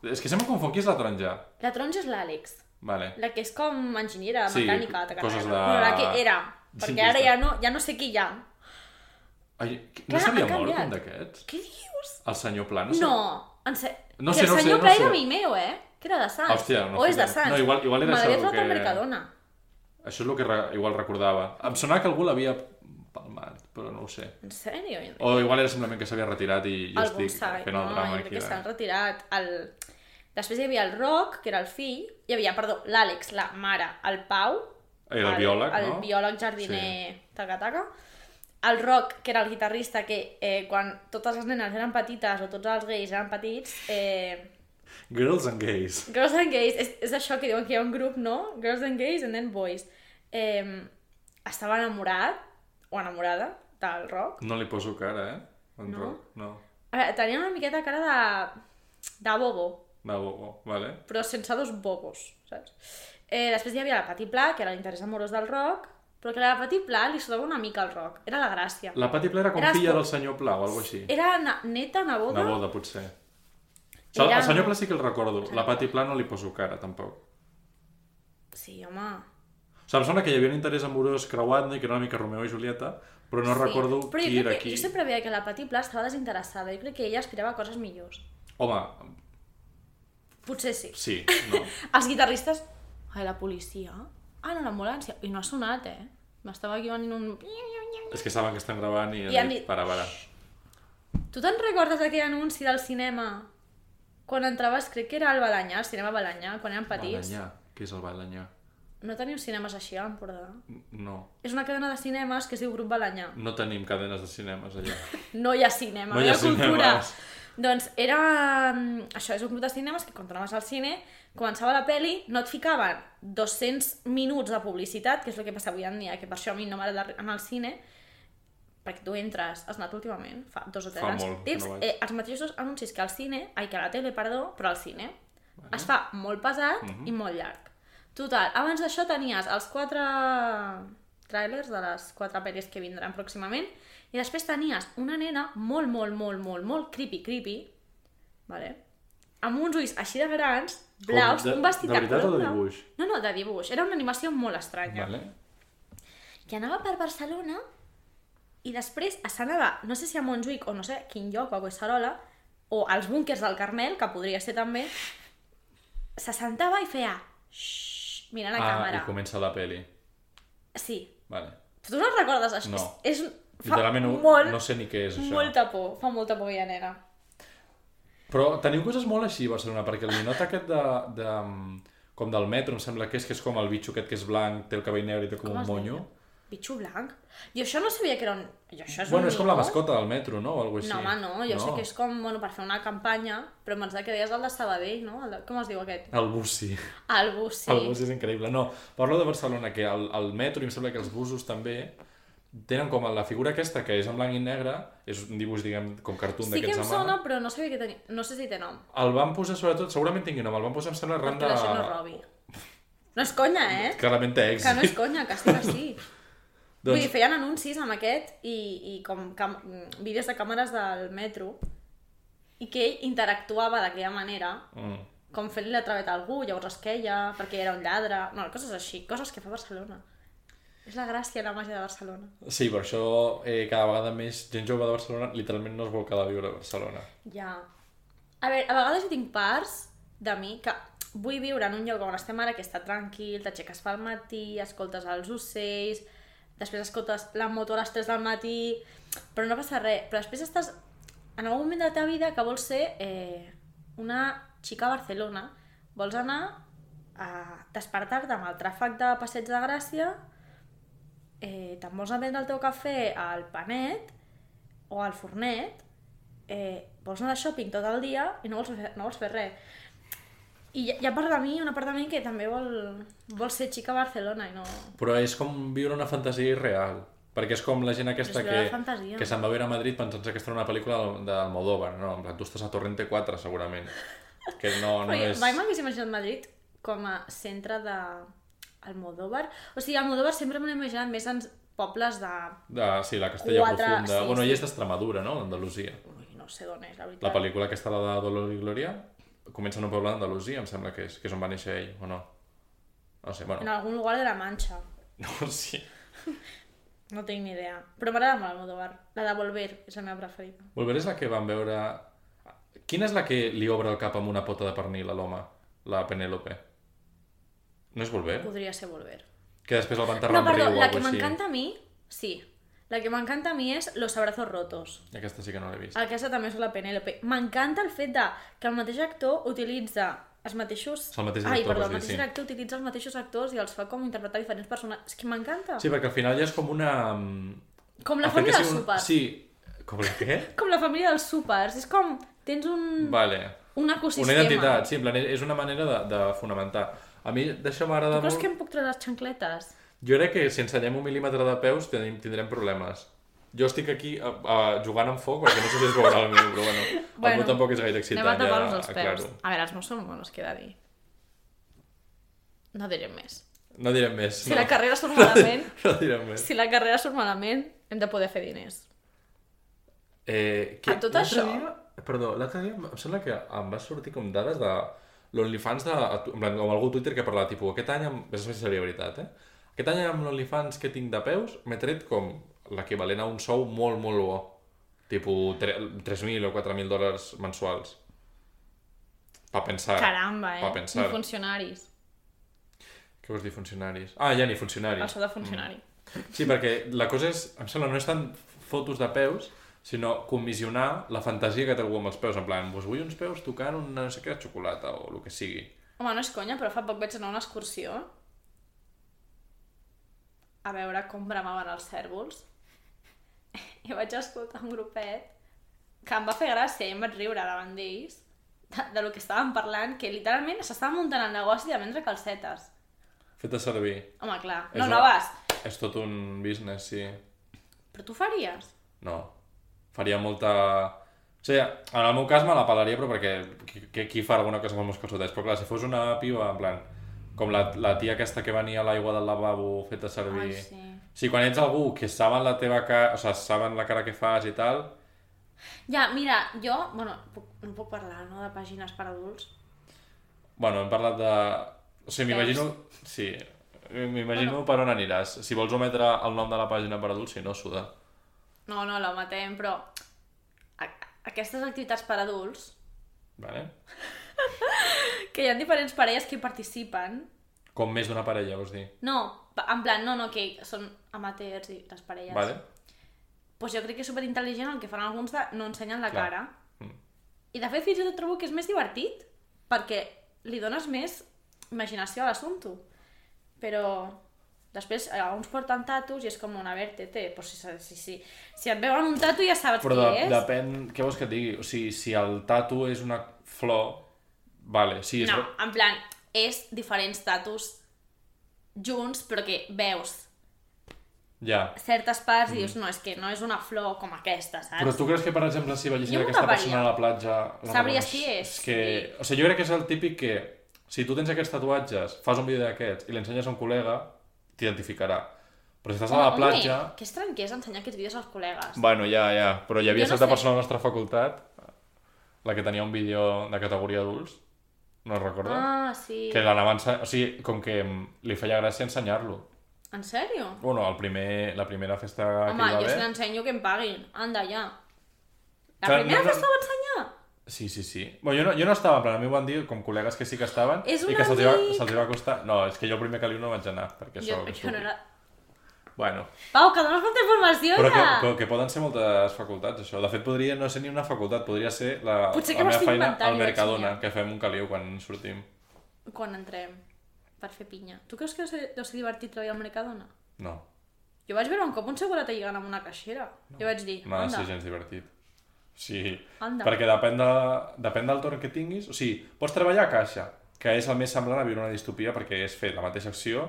És que sempre confon qui és la taronja. la taronja és l'Àlex. Vale. La que és com enginyera Sí, mecànica. de coses carrera. de- No, la que era. Perquè Simplista. ara ja no, ja no sé qui hi ha. Ai, no Clar, s'havia ha mort canviat. un d'aquests? Què dius? El senyor Pla? No. s'ha- No, en se... No que sé, el no sé, senyor no Pla sé. era Mimeo, eh? Que era de Sants. Hòstia, no o és de sé. Sants. No, igual- igual era això M'hauria el trobat que- al Mercadona. Això és el que re... igual recordava. Em sonava que algú l'havia palmat, però no ho sé. En sèrio? O igual era simplement que s'havia retirat i Oh, jo Algú estic sabe. fent el drama jo aquí. crec eh. que de- s'han retirat. El... Després hi havia el Roc, que era el fill. Hi havia, perdó, l'Àlex, la mare, el Pau. Era el biòleg, el no? biòleg jardiner, sí. taca-taca. El Roc, que era el guitarrista que eh, quan totes les nenes eren petites o tots els gais eren petits, eh, Girls and gays. Girls and Gays, és, és això que diuen que hi ha un grup, no? Girls and Gays and then Boys. Eh, estava enamorat, o enamorada, del rock. No li poso cara, eh? En No? Roc, No. A veure, tenia una miqueta cara de... de bobo, Va, bo, bo. Vale. però sense dos bobos, saps? Eh, després hi havia la Pati Pla, que era l'interès amorós del rock, però que a la Pati Pla li sudava una mica el rock. Era la gràcia. La Pati Pla era com Era filla espo- del senyor Pla o alguna cosa així. Era na neta, neboda... Una boda, potser. Era... Era- El senyor Pla sí que el recordo. La Pati Pla no li poso cara, tampoc. Sí, home... O sigui, em sembla que hi havia un interès amorós creuat, no? I que era una mica Romeo i Julieta, però no sí. recordo però jo qui crec era que- qui. Jo sempre veia que la Pati Pla estava desinteressada. Jo crec que ella aspirava a coses millors. Home, Potser sí. sí, no. Els guitarristes... Ai, la policia? Ah, no, l'ambulància. I no ha sonat, eh? M'estava aquí venint un... És que saben que estan gravant i, I han han dit, dit, para, para. Tu te'n recordes aquell anunci del cinema? Quan entraves, crec que era al Balanyà, al cinema Balanyà, quan érem petits. Balanyà. Què és el Balanyà? No teniu cinemes així a Empordà? No. És una cadena de cinemes que es diu Grup Balanyà. No tenim cadenes de cinemes allà. No hi ha cinema, No no hi hi ha ha, cultura. cinemes. Doncs era... mm, Això és un grup de cinemes que quan tu anaves al cine, començava la peli, no et ficaven 200 minuts de publicitat, que és el que passa avui en dia, que per això a mi no m'agrada anar al cine, perquè tu entres, has anat últimament, fa dos o tres Fa anys, molt que tens no vaig. eh, els mateixos anuncis que al cine, ai, que a la tele, perdó, però al cine. Es fa molt pesat Mhm. i molt llarg. Total, abans d'això tenies els quatre trailers de les quatre pel·lis que vindran pròximament i després tenies una nena molt, molt, molt, molt, molt creepy, creepy, vale? amb uns ulls així de grans, blaus, de- un vestit de veritat o de color blau. dibuix? No, no, de dibuix. Era una animació molt estranya vale? que anava per Barcelona i després s'anava, no sé si a Montjuïc o no sé quin lloc, o a Collserola, o als búnkers del Carmel, que podria ser també, se sentava i feia xxxt, mirant a ah, càmera. i comença la peli. Sí. Vale. Tu no recordes això? No. És, és, fa Literalment no, molt, no sé ni què és això. molta por, fa molta por aquella nena. Però teniu coses molt així a Barcelona, perquè el ninot aquest de, de, com del metro, em sembla que és, que és com el bitxo aquest que és blanc, té el cabell negre i té com, Com un es monyo. deia? Bitxo blanc? Jo això no sabia que era un... Jo això és bueno, un és com la mito. mascota del metro, no? O algo així. No, home, no, jo sé que és com, bueno, per fer una campanya, però me'n que deies el de Sabadell, no? El de, com es diu aquest? El bussi. El Bussi. El bussi és increïble. No, parlo de Barcelona, que el, el metro, i em sembla que els busos també, tenen com la figura aquesta, que és en blanc i negre, és un dibuix, diguem, com cartoon Sí que d'aquests a em mà. sona, però no sabia que tenia... No sé si té nom. El van posar, sobretot, segurament tingui nom, el van posar, em sembla, arran Perquè de... la gent no robi. No és conya, eh? Clarament té èxit. Que no és conya, que sí, que sí. doncs... Vull dir, Doncs, feien anuncis amb aquest i, i com cam... vídeos de càmeres del metro i que ell interactuava d'aquella manera mm, com fent-li la traveta a algú, llavors es queia, perquè era un lladre... No, coses així, coses que fa Barcelona. És la gràcia, la màgia de Barcelona. sí, per això eh, cada vegada més gent jove de Barcelona literalment no es vol quedar a viure a Barcelona. Ja. A veure, a vegades jo tinc parts de mi que vull viure en un lloc on estem ara, que està tranquil, t'aixeques pel matí, escoltes els ocells, després escoltes la moto a les 3 del matí, però no passa res. Però després estàs en algun moment de la teva vida que vols ser eh, una xica a Barcelona, vols anar a despertar-te amb el tràfic de Passeig de Gràcia, eh, te'n vols anar a prendre el teu cafè al Panet o al Fornet, eh, vols anar de shopping tot el dia i no vols fer, no vols fer res. I hi ha- hi ha part de mi, una part de mi que també vol, vol ser xica a Barcelona i no... Però és com viure una fantasia irreal. Perquè és com la gent aquesta Però és la que, fantasia. que se'n va veure a Madrid pensant-se que està en una pel·lícula del- d'Almodóvar. No, en plan, tu estàs a Torrente 4, segurament. Que no, no Però jo és... mai m'hagués imaginat Madrid com a centre de Almodóvar. O sigui, Almodóvar sempre me l'he imaginat més en pobles de... De, sí, la Castella Quatre, Profunda. sí, bueno, sí. ell és d'Extremadura, no? Andalusia. Ui, no sé d'on és, la veritat. La pel·lícula aquesta, la de Dolor i Glòria, comença en un poble d'Andalusia, em sembla que és, que és on va néixer ell, o no? No sé, bueno. En algun lugar de la Manxa. No, sí. No tinc ni idea. Però m'agrada molt el Modovar. La de Volver és la meva preferida. Volver és la que vam veure... Quina és la que li obre el cap amb una pota de pernil a l'home? La Penélope. No és Volver? Podria ser Volver. Que després el van enterrar No, no, riu perdó, o la que alguna cosa així. m'encanta a mi, sí. La que m'encanta a mi és Los abrazos rotos. Aquesta sí que no l'he vist. Aquesta també és la Penélope. M'encanta el fet de que el mateix actor utilitza els mateixos... És el mateix Ai, director, perdó, vols el dir, mateix sí. director utilitza els mateixos actors i els fa com interpretar diferents persones. És que m'encanta. Sí, perquè al final ja és com una... mm, Com la família del súper. Sí, com la què? Com la família dels súpers. És com... Tens un, vale. un ecosistema. Una identitat, sí, en plan, és una manera de, de fonamentar. A mi d'això m'agrada Tu creus molt... que em puc treure les xancletes? Jo crec que si ensenyem un mil·límetre de peus tenim, tindrem problemes. Jo estic aquí a, a, jugant amb foc perquè no sé si es veurà el meu, però bueno, el meu tampoc és gaire excitant. Anem a tapar-nos els peus. aclaro. A veure, els meus són monos, queda dir. No direm més. No direm més. Si no. la carrera surt malament, No direm més. si la carrera surt malament, hem de poder fer diners. Eh, A tot l'altre això- Dia, perdó, l'altre dia em sembla que em va sortir com dades de l'OnlyFans de... En plan, com algú a Twitter que parlava, tipus, aquest any... Amb... És una seria veritat, eh? Aquest any amb l'OnlyFans que tinc de peus m'he tret com l'equivalent a un sou molt, molt bo. Tipus tre- 3.000 o 4.000 dòlars mensuals. Pa pensar. Caramba, eh? Pa pensar. Ni funcionaris. Què vols dir, funcionaris? Ah, ja ni funcionaris. El sou de funcionari. Sí, perquè la cosa és, em sembla, no és tant fotos de peus, sinó comissionar la fantasia que té algú amb els peus, en plan, vos vull uns peus tocant una no sé què, xocolata o el que sigui. Home, no és conya, però fa poc vaig anar a una excursió a veure com bramaven els cèrvols i vaig escoltar un grupet que em va fer gràcia i em vaig riure davant d'ells de, de lo que estaven parlant, que literalment s'estava muntant el negoci de vendre calcetes. Fet a servir. Home, clar, És no, una- no vas. És tot un business, sí. Però tu faries? No. Faria molta... O sigui, en el meu cas me la pelaria, però perquè qui- qui, qui fa alguna cosa amb els calçotets? Però clar, si fos una piba, en plan, com la, la tia aquesta que venia a l'aigua del lavabo feta servir... Ai, sí. sí, quan ets algú que saben la teva cara, o sigui, saben la cara que fas i tal, Ja, mira, jo... Bueno, puc, no puc parlar, no?, de pàgines per adults. Bueno, hem parlat de... O sigui, m'imagino... Sí, m'imagino per on aniràs. Si vols ometre el nom de la pàgina per adults, si no, suda. No, no, la matem, però... A aquestes activitats per adults, Vale? que hi ha diferents parelles que hi participen, Com més d'una parella, vols dir. no, pa- en plan, no, no, que són amateurs i les parelles. Vale? pues jo crec que és superintel·ligent el que fan alguns de no ensenyen la Clar. cara. Mm. I de fet fins i tot trobo que és més divertit, perquè li dones més imaginació a l'assumpte. Però després eh, alguns porten tatus i és com una vertete, pues si, si, si, si et veuen un tatu ja saps Però què de, és. depèn... Què vols que et digui? O sigui, si el tatu és una flor... Vale, sí, és... No, en plan, és diferents tatus junts, però que veus Ja. certes parts i dius, no, és que no és una flor com aquesta, saps? Mm. Però tu creus que, per exemple, si veiessin Jo m'ho aquesta taparia. persona a la platja... La Sabries reconeix- qui és, és que... O sigui, jo crec que és el típic que, si tu tens aquests tatuatges, fas un vídeo d'aquests i l'ensenyes a un col·lega, t'identificarà. Però si estàs a la Home, platja... que estrany que és ensenyar aquests vídeos als col·legues. Bueno, ja, ja. Però hi havia Jo no certa sé. persona a la nostra facultat, la que tenia un vídeo de categoria adults, no es recorda? Ah, sí. Que l'anaven... ense- O sigui, com que mm, li feia gràcia ensenyar-lo. En sèrio? Bueno, el primer, la primera festa Home, que hi va jo si haver... l'ensenyo que em paguin. Anda, ja. La Clar, primera no, no. festa ho va ensenyar? Sí, sí, sí. Bueno, jo, no, jo no estava, però a mi ho van dir com col·legues que sí que estaven És un i que se'ls va, amic! se va costar... No, és que jo el primer caliu no vaig anar, perquè Jo, sóc jo no era... Bueno, Pau, que dones molta informació, però que, ja! que, que, poden ser moltes facultats, això. De fet, podria no ser ni una facultat, podria ser la, Potser que la meva m'estic feina inventant, al jo vaig Mercadona, somiar. que fem un caliu quan sortim. Quan entrem per fer pinya. Tu creus que deu ser, deu ser divertit treballar al Mercadona? No, Jo vaig veure un cop un segurata lligant amb una caixera. No. Jo vaig dir, no ha de anda, ser gens divertit. Sí, Anda. perquè depèn, de, depèn del torn que tinguis. O sigui, pots treballar a caixa, que és el més semblant a viure una distopia perquè és fer la mateixa acció.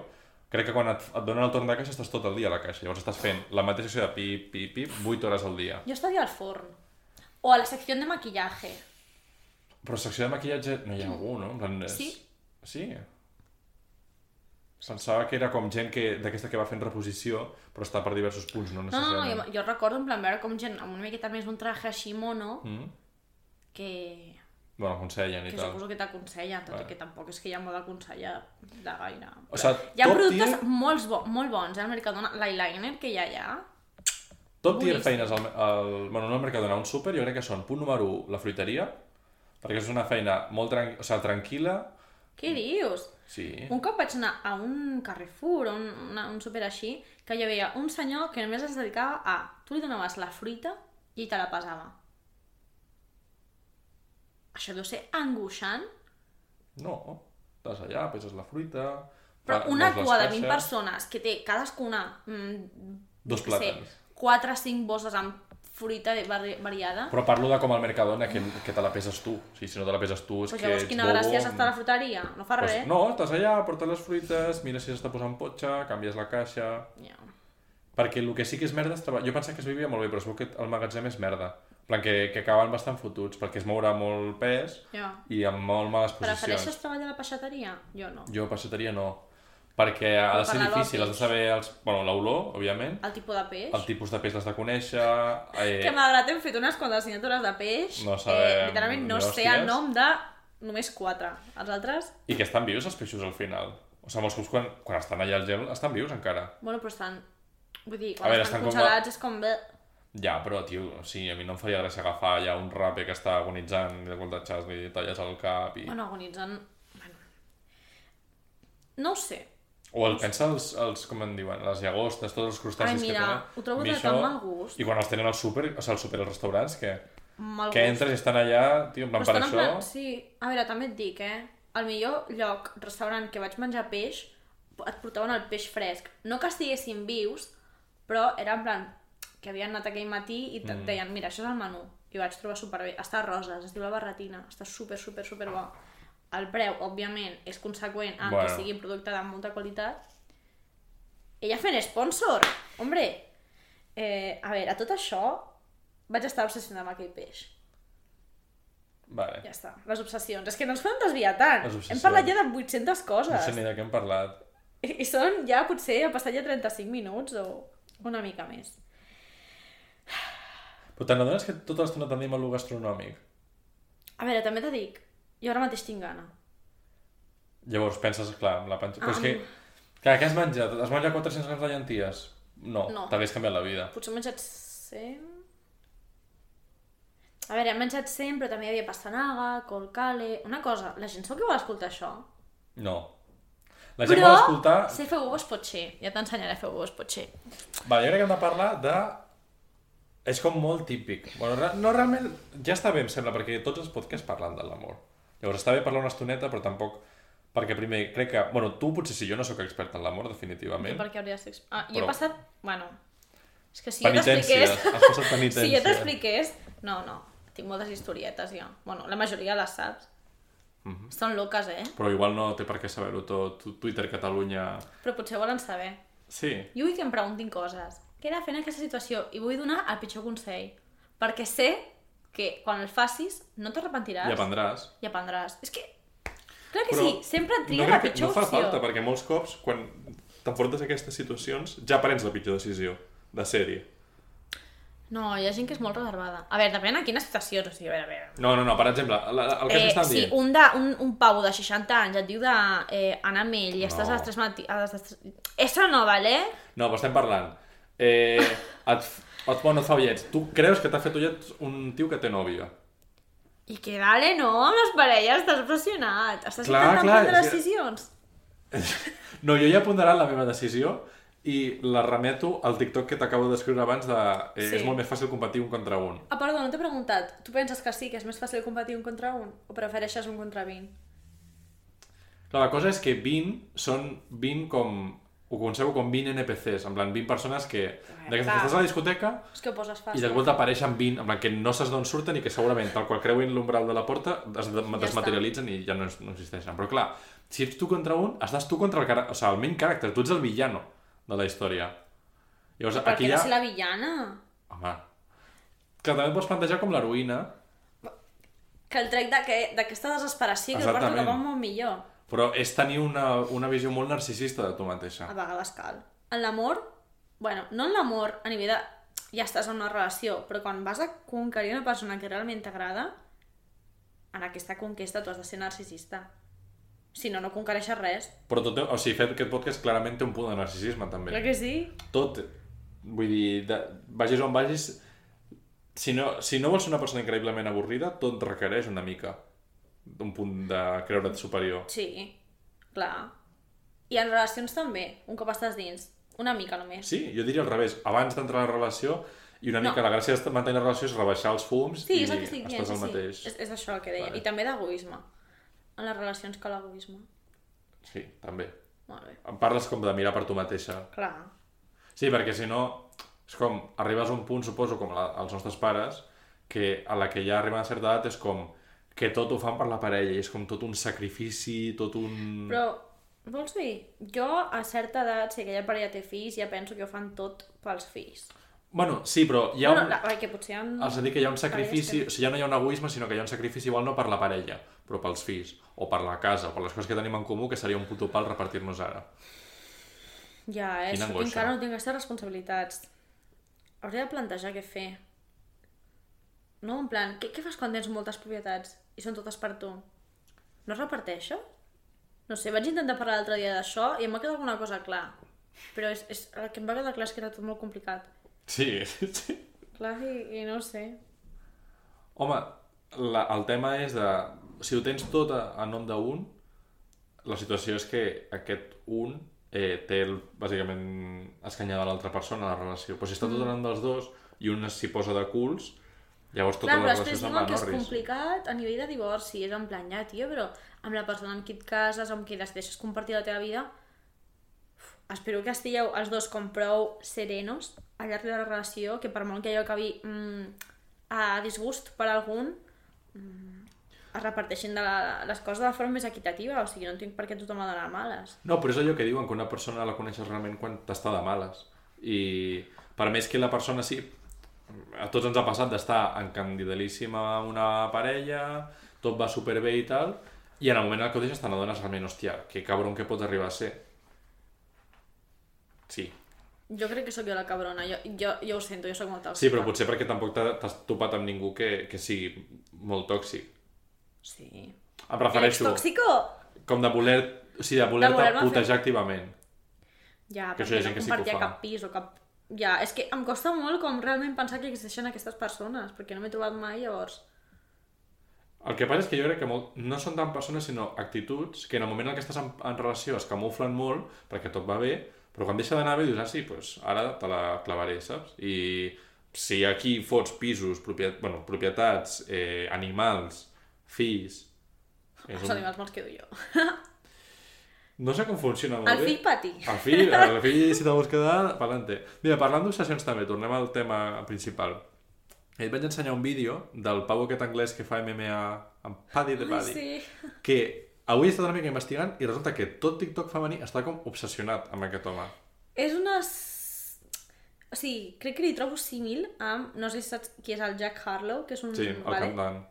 Crec que quan et, et donen el torn de caixa estàs tot el dia a la caixa. Llavors estàs fent la mateixa acció de pip, pip, pip, 8 hores al dia. jo estaria al forn. O a la secció de maquillaje. Però secció de maquillatge no hi ha algú, no? En plan, és... Sí. Sí. Pensava que era com gent que d'aquesta que va fent reposició, però està per diversos punts, no No, no, no, necessàriament. jo, jo recordo en plan veure com gent amb una miqueta més un traje així mono Mm? que... Bueno, aconsellen i que tal. suposo que t'aconsellen, tot Vale. i que tampoc és que hi ha molt d'aconsellar de gaire. O sea, hi ha top productes tier- molts bo, molt bons, eh, al Mercadona. L'eyeliner que hi ha allà, Top tier Boníssim. feines al, al, bueno, no al Mercadona, un súper, jo crec que són punt número 1, la fruiteria, perquè és una feina molt tran o sigui, tranquil·la, què Mm. dius? sí. Un cop vaig anar a un Carrefour, un, una, un super així, que hi havia un senyor que només es dedicava a... Tu li donaves la fruita i ell te la pesava. Això deu ser angoixant, No, estàs allà, peses la fruita... però fa- una fas Ah, les cua de 20 caixes, persones que té cadascuna... Mm, Dos jo què sé, plàtans. 4 o 5 bosses amb fruita de- vari- variada. Però parlo de com al Mercadona, que, que te la peses tu. O sigui, si no te la peses tu, és Pues que llavors, ets quina bobo. mm. gràcia és estar a la fruteria? No fa pues, res. No, estàs allà, portes les fruites, mira si s'està posant potxa, canvies la caixa... Ja. Perquè el que sí que és merda és treballar... Jo pensava que es vivia molt bé, però es veu que el magatzem és merda. En plan, que, que acaben bastant fotuts, perquè es mourà molt pes Ja. i amb molt males Prefereixes posicions. treballar a la peixateria? Jo no. Jo passateria no, perquè ha de Per ser la difícil, lobby. has de saber els... bueno, l'olor, òbviament, El tipus de peix? el tipus de peix l'has de conèixer... Que Eh... malgrat hem fet unes quantes assignatures de peix, No sabem eh, literalment no ni sé el hòsties. nom de només quatre. Els altres, I que estan vius els peixos al final. O sigui, molts cops quan, quan estan allà al gel estan vius encara. bueno, però estan... Vull dir, quan A veure, estan, estan com congelats és com... bé. Ja, però, tio, o sigui, a mi no em faria gràcia agafar ja un rape que està agonitzant i de cop de xas li talles el cap i... Bueno. Bueno, agonitzen... Bueno. No ho sé. O el pensa els, els, com en diuen, les llagostes, tots els crustacis Ai, mira, que tenen. ho trobo A mi de tan mal gust. I quan els tenen al súper, o sigui, al súper, als restaurants, que, Mal que gust. entres i estan allà, tio, en plan, Però per estan en això... plan- Sí, a veure, també et dic, eh? El millor lloc, restaurant que vaig menjar peix, et portaven el peix fresc. No que estiguessin vius, però era en plan que havien anat aquell matí i et Mm. deien, mira, això és el menú. I ho vaig trobar superbé. Està a roses, es diu la barretina, està super, super, super bo. El preu, òbviament, és conseqüent amb bueno. Bueno. que sigui un producte de molta qualitat. Ella fent sponsor, hombre! Eh, a veure, a tot això vaig estar obsessionada amb aquell peix. Vale. Ja està, les obsessions. És que no ens podem desviar tant. Les Hem obsessions. parlat ja de 800 No coses. sé ni de què hem parlat. I, I són ja potser ha passat ja 35 minuts o una mica més. Però te n'adones que tota l'estona tendim a lo gastronòmic? A veure, també te dic, jo ara mateix tinc gana. Llavors penses, clar, amb la panxa... Però és Ah. que, clar, què has menjat? Has menjat 400 grams de llenties? No, No. t'hagués canviat la vida. Potser he menjat 100... A veure, he menjat 100, però també hi havia pastanaga, colcale... Una cosa, la gent sóc que vol escoltar això. No. La gent però vol escoltar... sé fer uves pot ser. Ja t'ensenyaré a fer uves pot ser. Va, jo crec que hem de parlar de... És com molt típic. Bueno, re- no realment... Ja està bé, em sembla, perquè tots els podcasts parlen de l'amor. Llavors està bé parlar una estoneta, però tampoc... Perquè primer, crec que... Bueno, tu potser sí, jo no sóc expert en l'amor, I definitivament. per què hauria de ser... exp- Ah, jo he Però- passat... Bueno, és que si jo Penitència. t'expliqués... Has passat penitència. Si jo t'expliqués... No, no, tinc moltes historietes jo. Bueno, la majoria les saps. Mhm. Mm -hmm. Són loques, eh? Però igual no té per què saber-ho tot. Tu- Twitter Catalunya... Però potser volen saber. Sí. Jo vull que em preguntin coses. Què era fent en aquesta situació? I vull donar el pitjor consell. Perquè sé que quan el facis no t'arrepentiràs I aprendràs. i aprendràs. És que... Clar que sí, sempre et tria no la crec que- pitjor No fa opció. falta, perquè molts cops, quan t'enfrontes a aquestes situacions, ja prens la pitjor decisió de sèrie. No, hi ha gent que és molt reservada. A veure, depèn a quines situacions. O sigui, a veure, a veure. No, no, no, per exemple, la, la, el que eh, Eh, s'està si dient... un, de, un, un pavo de 60 anys et diu de eh, anar amb ell i no. estàs a les 3 matí... A les 3... Eso no, vale? No, però estem parlant. Eh, et, f- et, bueno, et fa ullets. Tu creus que t'ha fet ullets un tio que té nòvia. I que dale, no, amb les parelles estàs obsessionat. Estàs Clar, intentant clar, prendre és que- decisions. No, jo ja he ponderat la meva decisió i la remeto al TikTok que t'acabo d'escriure abans de... Eh, Sí. sí. És molt més fàcil competir un contra un. Ah, perdó, no t'he preguntat. Tu penses que sí, que és més fàcil competir un contra un? O prefereixes un contra 20? Clar, la cosa és que 20 són 20 com... Ho concebo com 20 NPCs, en plan 20 persones que... De que clar. estàs a la discoteca És que ho poses I fàcil. de volta apareixen 20, en plan que no saps d'on surten i que segurament tal qual creuen l'umbral de la porta es de- desmaterialitzen i ja no, es- no existeixen. Però clar, si ets tu contra un, estàs tu contra el, cara- o sigui, el main character, tu ets el villano de la història. Llavors, Per aquí què ja... no ser la villana? Home, que també et pots plantejar com l'heroïna, Que el trec de que- d'aquesta desesperació que porta Exactament. una va molt millor. però és tenir una, una visió molt narcisista de tu mateixa. A vegades cal. En l'amor, bueno, no en l'amor, a nivell de... ja estàs en una relació, però quan vas a conquerir una persona que realment t'agrada, en aquesta conquesta tu has de ser narcisista. Si no, no conquereixes res. Però tot, o sigui, fer aquest podcast clarament té un punt de narcisisme, també. Clar que sí. Tot, vull dir, de, vagis on vagis, si no, si no vols ser una persona increïblement avorrida, tot requereix una mica un punt de creure't superior. Sí, clar. I en relacions també, un cop estàs dins. Una mica només. Sí, jo diria al revés, abans d'entrar a la relació, i una No. mica la gràcia de mantenir la relació és rebaixar els fums Sí, i és el que estic dient. estàs al sí, mateix. Sí. És, és això el que deia. Vale. I també d'egoisme. En les relacions que l'egoisme. Sí, també. Molt bé. Em parles com de mirar per tu mateixa. Clar. Sí, perquè si no, és com, arribes a un punt, suposo, com la, els nostres pares, que a la que ja arriben a certa edat és com que tot ho fan per la parella, i és com tot un sacrifici, tot un... Però, vols dir, jo a certa edat, si aquella parella té fills, ja penso que ho fan tot pels fills. Bueno, sí, però hi ha Bueno, un... la, perquè potser... En... És a dir, que hi ha un sacrifici, Parelles o sigui, ja no hi ha un egoisme, sinó que hi ha un sacrifici igual no per la parella, però pels fills, o per la casa, o per les coses que tenim en comú, que seria un puto pal repartir-nos ara. Ja, és Quina que angoixa. encara no tinc aquestes responsabilitats. Hauré de plantejar què fer. No, en plan, què, què fas quan tens moltes propietats i són totes per tu? No es reparteixo? No sé, vaig intentar parlar l'altre dia d'això i em va quedar alguna cosa clar. Però és, és, el que em va quedar clar és que era tot molt complicat. Sí, sí. Clar, i, i no ho sé. Home, la, el tema és de... Si ho tens tot a, a nom d'un, la situació és que aquest un eh, té, el, bàsicament, escanyada l'altra persona a la relació. Però si està tot Mm. a nom dels dos i un s'hi posa de culs, llavors tota Clar, la però relació després se'n diuen va que a és Norris. complicat a nivell de divorci, és en plan, ja, tio, però amb la persona amb qui et cases, amb qui decideixes compartir la teva vida, uf, espero que estigueu els dos com prou serenos al llarg de la relació, que per molt que allò acabi mm, a disgust per algun, mm, es reparteixin de la, les coses de la forma més equitativa, o sigui, no tinc per què tothom ha d'anar a males. No, però és allò que diuen, que una persona la coneixes realment quan t'està de males. I per més que la persona sí, a tots ens ha passat d'estar encandidalíssima amb una parella, tot va superbé i tal, i en el moment en què ho deixes te n'adones realment, hòstia, que cabron que pots arribar a ser. Sí. Jo crec que sóc jo la cabrona, jo, jo, jo ho sento, jo sóc molt tòxica. Sí, però potser perquè tampoc t'ha- t'has topat amb ningú que, que sigui molt tòxic. Sí. Em ¿Eres refereixo tòxico? com de voler... O sigui, de voler-te voler-me fer- putejar activament. Ja, Que que això hi ha gent perquè no que sí que ho compartia fa. cap pis o cap... Ja, és que em costa molt com realment pensar que existeixen aquestes persones, perquè no m'he trobat mai, llavors... El que passa és que jo crec que molt... no són tant persones, sinó actituds, que en el moment en què estàs en, en relació es camuflen molt, perquè tot va bé, però quan deixa d'anar bé dius, ah, sí, doncs ara te la clavaré, saps? I si aquí fots pisos, propietat, bueno, propietats, eh, animals, fills... És Els animals me'ls quedo jo. No sé com funciona molt El bé. fill pati. El fill, el fill, si te vols quedar, pa'lante. Mira, parlant d'obsessions també, tornem al tema principal. Et vaig ensenyar un vídeo del pavo aquest anglès que fa MMA amb Paddy de Ai, Paddy sí. que avui he estat una mica investigant i resulta que tot TikTok femení està com obsessionat amb aquest home. És una... s- O sigui, crec que li trobo símil amb... No sé si saps qui és el Jack Harlow, que és un... Sí, el cantant.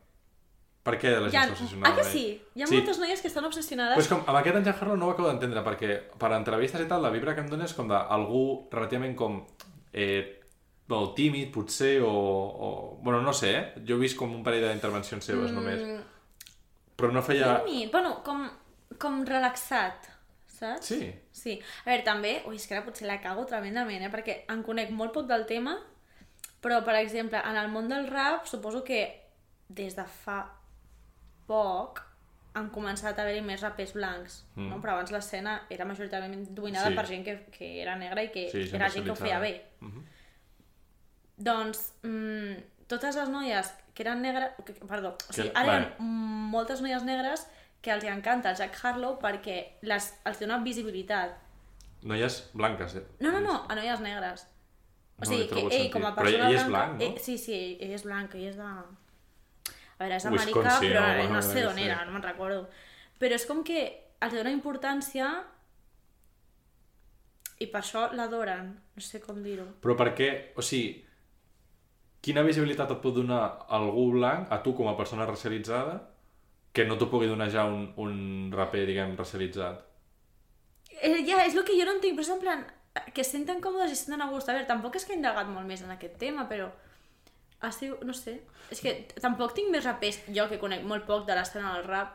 Per què la gent Ja, està obsessionada? ah, que amb sí? ell? Hi ha sí. moltes noies que estan obsessionades. Però és com, amb aquest Angel Harlow no ho acabo d'entendre, perquè per entrevistes i tal, la vibra que em dona és com d'algú relativament com... Eh, bueno, tímid, potser, o, o... Bueno, no sé, eh? Jo he vist com un parell d'intervencions seves, mm. només. Però no feia... Tímid, bueno, com, com relaxat, saps? Sí. Sí. A veure, també... Ui, és que ara potser la cago tremendament, eh? Perquè en conec molt poc del tema, però, per exemple, en el món del rap, suposo que des de fa poc han començat a haver-hi més rapers blancs, mm. no? Però abans l'escena era majoritàriament dominada Sí. per gent que, que era negra i que Sí, sí, gent era gent que ho feia racialitzada. bé. Mm -hmm. Doncs, mm, totes les noies que eren negres... que- que- Perdó, o sigui, Que- ara hi vale. ha moltes noies negres que els hi encanta el Jack Harlow perquè les, els dona visibilitat. Noies blanques, eh? No, no, no, a noies negres. O No sigui, li que trobo ell sentit. com a Però ell persona és blanca... blanc, no? ell- sí, sí, ell és blanc, ell és de... A veure, és Wisconsin, americà, però o no, alguna sé cosa d'on així. era, no me'n recordo. Però és com que els dona importància i per això l'adoren, no sé com dir-ho. Però per què... O sigui, quina visibilitat et pot donar algú blanc a tu com a persona racialitzada que no t'ho pugui donar ja un, un raper, diguem, racialitzat? Eh, ja, és el que jo no entenc, però és en plan que es senten còmodes i es senten a gust. A veure, tampoc és que he indagat molt més en aquest tema, però Es diu, no sé, és que tampoc tinc més rapers, jo que conec molt poc de l'escena del rap.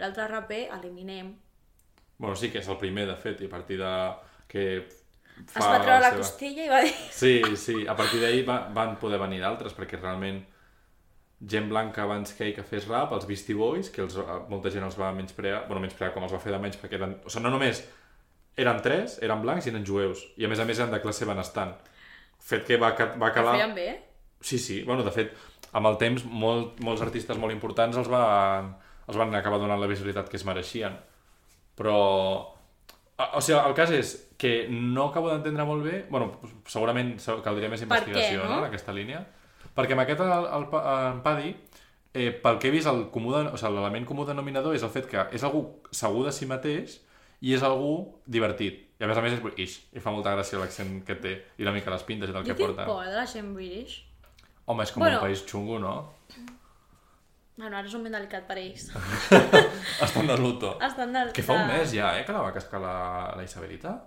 L'altre raper, l'Eminem, Bueno, sí que és el primer, de fet, i a partir de... que es va la treure la seva- costella i va dir... Sí, sí, a partir d'ahir va, van poder venir d'altres, perquè realment gent blanca abans que ell que fes rap, els Beastie Boys, que els, eh, molta gent els va menysprear, bueno, menysprear com els va fer de menys, perquè eren, o sigui, no només eren tres, eren blancs i eren jueus, i a més a més eren de classe benestant. Fet que va, ca- va calar... Feien bé, eh? Sí, sí. Bueno, de fet, amb el temps, molt, molts artistes molt importants els van, els van acabar donant la visibilitat que es mereixien. Però... a- O sigui, el cas és que no acabo d'entendre molt bé... bueno, segurament se- caldria més investigació, no? no? En aquesta línia. Perquè amb aquest, el, el, Pa- en Padi, eh, pel que he vist, el comú de, o sigui, l'element comú denominador és el fet que és algú segur de si mateix i és algú divertit. I a més a més és british. I fa molta gràcia l'accent que té i una mica les pintes i del Jo que tinc porta. por de la gent british. Home, és com Bueno. un país xungo, no? Bueno, ara és un ben delicat per ells. Estan de luto. Estan del... Que fa un de- mes ja, eh, que la va cascar la, la Isabelita.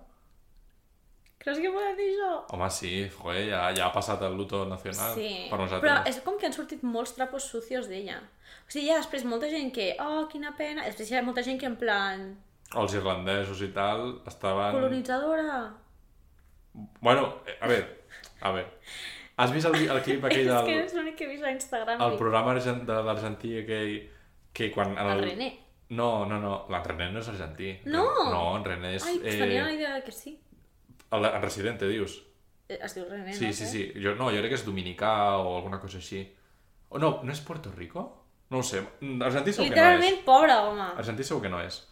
Creus que poden dir això? Home, sí, joder, ja, ja ha passat el luto nacional Sí, Ah, per nosaltres. però és com que han sortit molts trapos sucios d'ella. O sigui, hi ha després molta gent que, oh, quina pena... Després hi ha molta gent que en plan, Els irlandesos i tal estaven... colonitzadora... Bueno, eh, a veure, a veure. Has vist el, el clip aquell és que del és l'únic que he vist a Instagram. el dic, programa argent- de l'argentí aquell que quan... El René. No, no, no, el René no és argentí. No! No, en René és... eh, Ai, pues tenia la idea que sí. el, el residente, dius. Eh, Es diu René, Sí, no sí, sé. sí. Jo, no, jo crec que és dominicà o alguna cosa així. O no, no és Puerto Rico? No ho sé. Mm, Argentí segur Literalment, que no pobre home. és. Argentí segur que no és.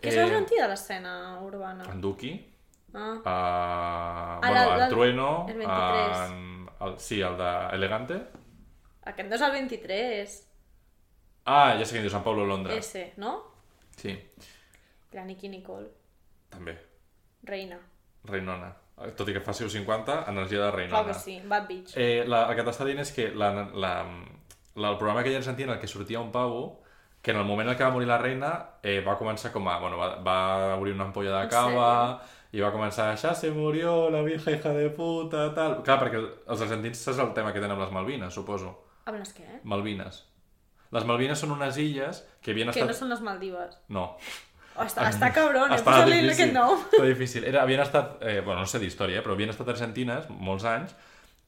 Que és la mentida de l'escena urbana. En Duki, Ah, a... Ah, bueno, l'al- en Trueno, el 23. en... El, sí, el de Elegante. aquest no és el 23, Ah, ja sé quin dius, en Pablo Londra. És... S, no? Sí, La Nicki Nicole, també. reina. Reinona. Tot i que faci 50, energia de Reinona. Clar que sí, Bad Bitch. Eh, la, el que t'està dient és que la, la, la, el programa que ja sentia en el que sortia un pavo que en el moment en què va morir la reina eh, va començar com a... Bueno, va, va obrir una ampolla de En cava i va començar ja se murió la vieja hija de puta, tal... Clar, perquè els argentins és el tema que tenen amb les Malvines, suposo. Amb les què? eh? Malvines. Les Malvines són unes illes que havien Que estat... no són les Maldives. no. Oh, està, està cabron, eh? Estava Posa-li difícil, aquest nom. Estava difícil. Era, havien estat, eh, bueno, no sé d'història, eh, però havien estat argentines molts anys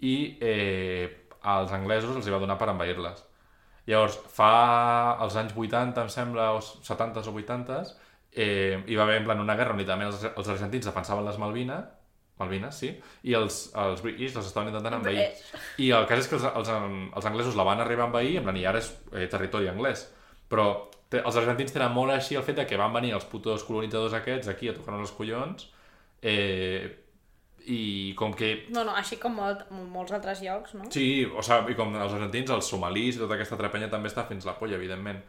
i eh, als anglesos els hi va donar per envair-les. Llavors, fa els anys 80, em sembla, o 70 o 80, eh, hi va haver en plan una guerra on literalment els, els argentins defensaven les Malvines, Malvines, sí, i els, els british les estaven intentant envair. I el cas és que els, els, els anglesos la van arribar a envair, en plan, i ara és eh, territori anglès. Però te, els argentins tenen molt així el fet de que van venir els putos colonitzadors aquests aquí a tocar-nos els collons, eh, i com que No, no, així com molt, molts altres llocs, no? Sí, o sigui, i com els argentins, els somalís i tota aquesta altra penya també està fins la polla, evidentment.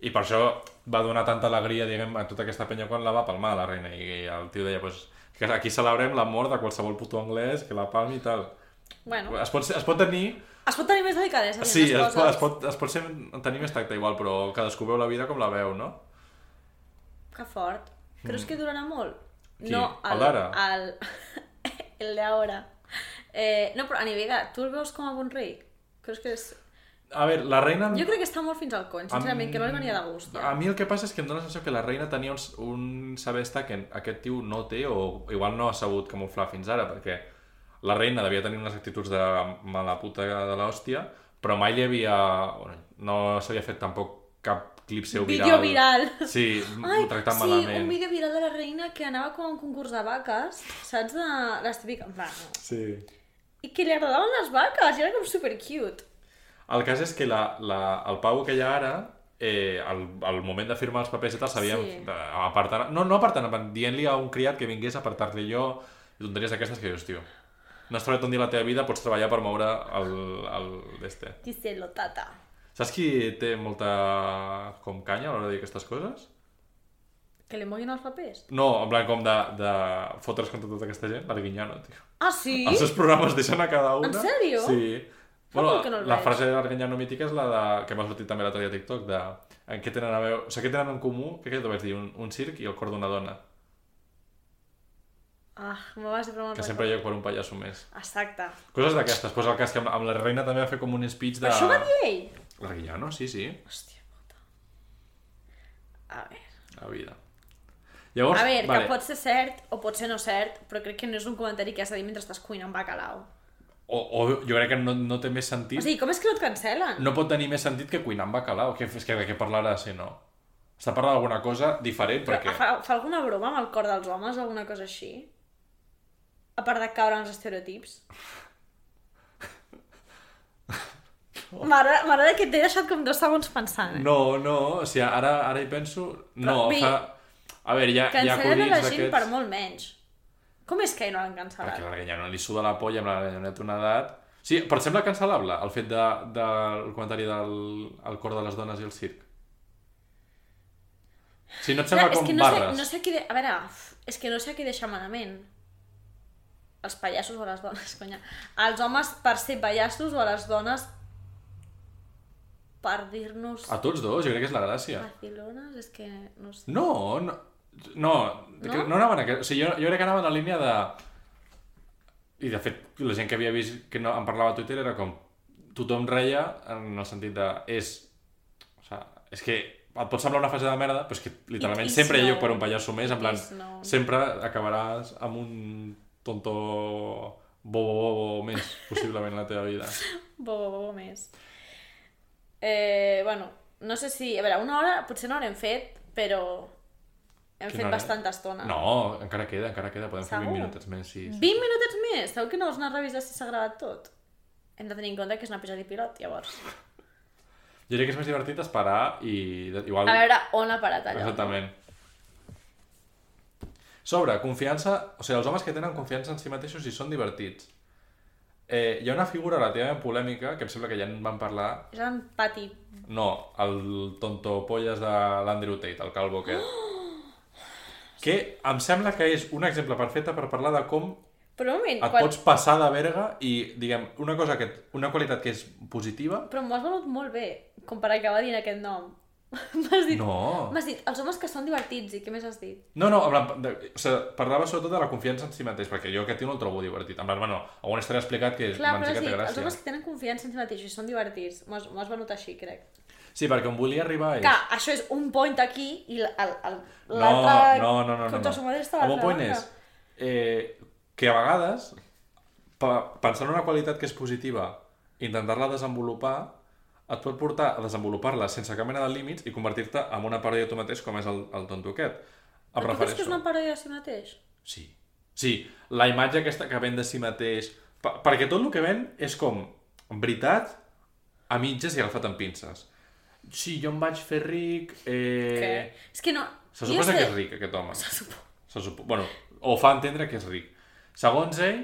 I per això va donar tanta alegria, diguem, a tota aquesta penya quan la va palmar la reina. I el tio deia, pues, que aquí celebrem la mort de qualsevol puto anglès que la palmi i tal. Bueno, Es pot, ser- es pot tenir... es pot tenir més delicadesa. Sí, dient les es pot, coses. es pot, es pot ser, tenir més tacte igual, però cadascú veu la vida com la veu, no? Que fort. Creus que durarà molt? Mm. Qui? No, El d'ara? El, el d'ara. Eh, no, però a nivell de... Tu el veus com a bon rei? Creus que és... A veure, la reina... Jo crec que està molt fins al cony, sincerament, que no li venia de gust. A Ja. mi el que passa és que em dóna la sensació que la reina tenia un, un saber estar que aquest tio no té o igual no ha sabut camuflar fins ara, perquè la reina devia tenir unes actituds de mala puta de l'hòstia, però mai li havia... Bueno, no s'havia fet tampoc cap clip seu viral. Vídeo viral. Sí, Ai, Ai, tractant sí, malament. un vídeo viral de la reina que anava com a un concurs de vaques, saps? De les típiques... En plan, no. Sí. I que li agradaven les vaques, i era com super cute. El cas és que la, la, el Pau que hi ha ara, eh, al, al moment de firmar els papers i tal, s'havien Sí. sí. apartant... No, no apartant, en- dient-li a un criat que vingués a apartar-li jo i tonteries d'aquestes que dius, tio, no has treballat un dia la teva vida, pots treballar per moure el... el d'este. Díselo, tata. Saps qui té molta com canya a l'hora de dir aquestes coses? Que li moguin els papers. No, en plan com de, de fotre's contra tota aquesta gent, l'Arguiñano, tio. Ah, sí? Els seus programes deixen a cada una. En sèrio? Sí. Fa Bueno, molt que no el la veig. frase de l'Arganyano mítica és la de... que m'ha sortit també l'altre dia a TikTok, de... En què tenen a veure... O sigui, què tenen en comú? Què que vaig dir? Un, un circ i el cor d'una dona. Ah, me vas sempre molt que sempre hi ha per un pallasso més. Exacte. Coses d'aquestes. Pues el cas que amb, amb la reina també va fer com un speech de... Però això ho va dir ell? La Guillano, sí, sí. Hòstia puta. A veure. A vida. Llavors, A veure, vale. que pot ser cert o pot ser no cert, però crec que no és un comentari que has de dir mentre estàs cuinant bacalao. o, o jo crec que no, no té més sentit. O sigui, com és que no et cancel·len? No pot tenir més sentit que cuinar amb bacalao. Que, és que de què parlarà, si no? Està parlant d'alguna cosa diferent, perquè... Fa, fa alguna broma amb el cor dels homes o alguna cosa així? A part de caure en els estereotips? M'agrada m'agrada que t'he deixat com dos segons pensant, eh? No, no, o sigui, ara, ara hi penso... No, Però, vull fa... A veure, hi ha, hi ha Cancel·len a la acudits gent d'aquests... Ah, per molt menys. Com és que no l'han Perquè cancel·lat? la Ganyano li suda la polla amb la Ganyano té una edat... Sí, però et sembla cancel·lable el fet de, de, el comentari del el cor de les dones i el circ. Si no et sembla Clar, és com que no sé, barres. no sé a qui... De... A veure, uf, és que no sé a qui deixa malament. Els pallassos o les dones, conya. Els homes per ser pallassos o les dones per dir-nos A tots dos, jo crec que és la gràcia. vacilones, és que no sé. No, no... No, no, no anaven a... O sigui, jo, jo crec que anaven en la línia de... I de fet, la gent que havia vist que no, em parlava a Twitter era com... Tothom reia en el sentit de... És... O sigui, és que et pot semblar una fase de merda, però és que literalment I sempre hi ha snow. lloc per un pallasso més, en plan, I snow. sempre acabaràs amb un tonto bobo bobo més, possiblement, a la teva vida. Bo, bo, bo, bo més. Eh, bueno, no sé si... A veure, una hora potser no l'hem fet, però hem Quina fet hora? bastanta estona. No, encara queda, encara queda, podem fer 20 Ah. Segur? minutets més, sí. sí. 20 minutets més! Segur que no vols anar a revisar si s'ha gravat tot? Hem de tenir en compte que és un episodi pilot, llavors. Jo crec que és més divertit esperar i de- igual... A veure on l'ha parat allò. Exactament. Sobre confiança, o sigui, els homes que tenen confiança en si mateixos i són divertits. Eh, hi ha una figura relativament polèmica, que em sembla que ja en van parlar, És en Pati. no, el tonto polles de l'Andrew Tate, el calvo aquest. Que em sembla que és un exemple perfecte per parlar de com Però un moment, et quan... pots passar de verga i, diguem, una cosa que, una qualitat que és positiva... però m'ho has venut molt bé, com per acabar dient aquest nom. M'has dit... No. M'has dit, els homes que són divertits, i què més has dit? No, no, en plan, de, o sigui, parlava sobretot de la confiança en si mateix, perquè jo aquest tio no el trobo divertit. En plan, bueno, alguna història ha explicat que Clar, m'han però has ficat dit, de els gràcia. homes que tenen confiança en si mateixos i són divertits. M'ho has, m'ho has venut així, crec. Sí, perquè on volia arribar és... Que això és un point aquí i l- el- el- No, l'altre... no, no, no, no, no. Contra el seu madre està a El meu l'altra point banda. és eh, que a vegades pa, pensar en una qualitat que és positiva intentar-la desenvolupar et pot portar a desenvolupar-la sense cap mena de límits i convertir-te en una paròdia de tu mateix com és el, el tonto aquest. Em Però tu creus refereixo. que és una paròdia de si mateix? Sí. Sí, la imatge aquesta que ven de si mateix... Pa perquè tot el que ven és com veritat a mitges i agafat amb pinces. Sí, jo em vaig fer ric... Eh... Què? És que no... Se jo suposa sé- que és ric, aquest home. Se supo- Se supo... bueno, o fa entendre que és ric. Segons ell,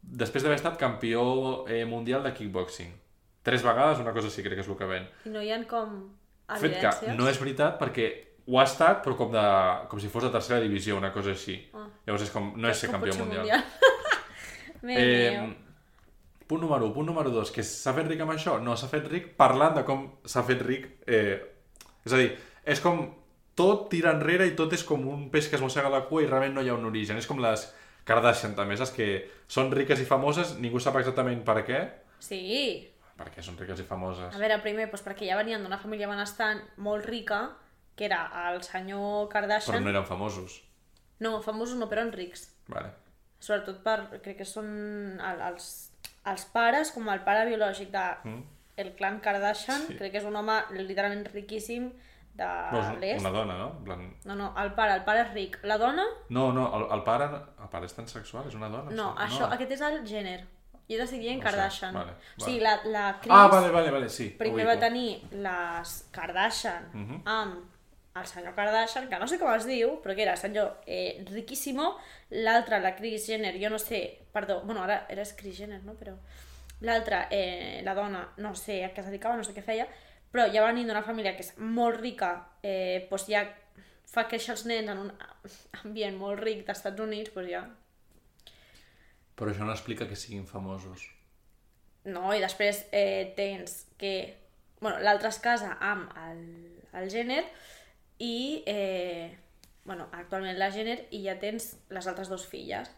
després d'haver estat campió eh, mundial de kickboxing. Tres vegades, una cosa sí crec que és el que ven. I no hi ha com Fet que evidències? no és veritat perquè ho ha estat, però com, de, com si fos de tercera divisió, una cosa així. Ah. Llavors és com, no és ser Com pot campió ser mundial. Meu Déu. Eh, punt número 1, punt número 2, que s'ha fet ric amb això? No, s'ha fet ric parlant de com s'ha fet ric. Eh, és a dir, és com tot tira enrere i tot és com un peix que es mossega la cua i realment no hi ha un origen. És com les Kardashian també, saps? Que són riques i famoses, ningú sap exactament per què. Sí. Per què són riques i A famoses? veure, primer, doncs perquè ja venien d'una família benestant molt rica, que era el senyor Però Kardashian... no eren famosos. no, famosos no, però eren rics. Vale. Sobretot per... Crec que són el, els, els pares, com el pare biològic de... El clan Kardashian, Mm. Sí. crec que és un home literalment riquíssim de No, és l'est. una dona, no? En plan... No, no, el pare, el pare és ric. La dona, No, no, el, el pare... El pare és tan sexual, és una dona? em no, sembla. això, aquest és el gènere. Jo t'estic No dient sé, Kardashian. vale, O sigui, la, vale. la Kris... Ah, vale, vale, vale, sí. ho Primer ubico. Mhm. va tenir les Kardashian amb el senyor Kardashian, que no sé com es diu, però que era senyor eh, riquíssimo, l'altra, la Kris Jenner, jo no sé, perdó, bueno, ara era Kris Jenner, no? Però l'altra, eh, la dona, no sé a què es dedicava, no sé què feia, però ja venint d'una família que és molt rica, eh, doncs ja fa créixer els nens en un ambient molt ric d'Estats Units, doncs ja... Però això no explica que siguin famosos. No, i després eh, tens que... bueno, l'altre es casa amb el, el Jenner i eh, bueno, actualment la Jenner, i ja tens les altres dues filles.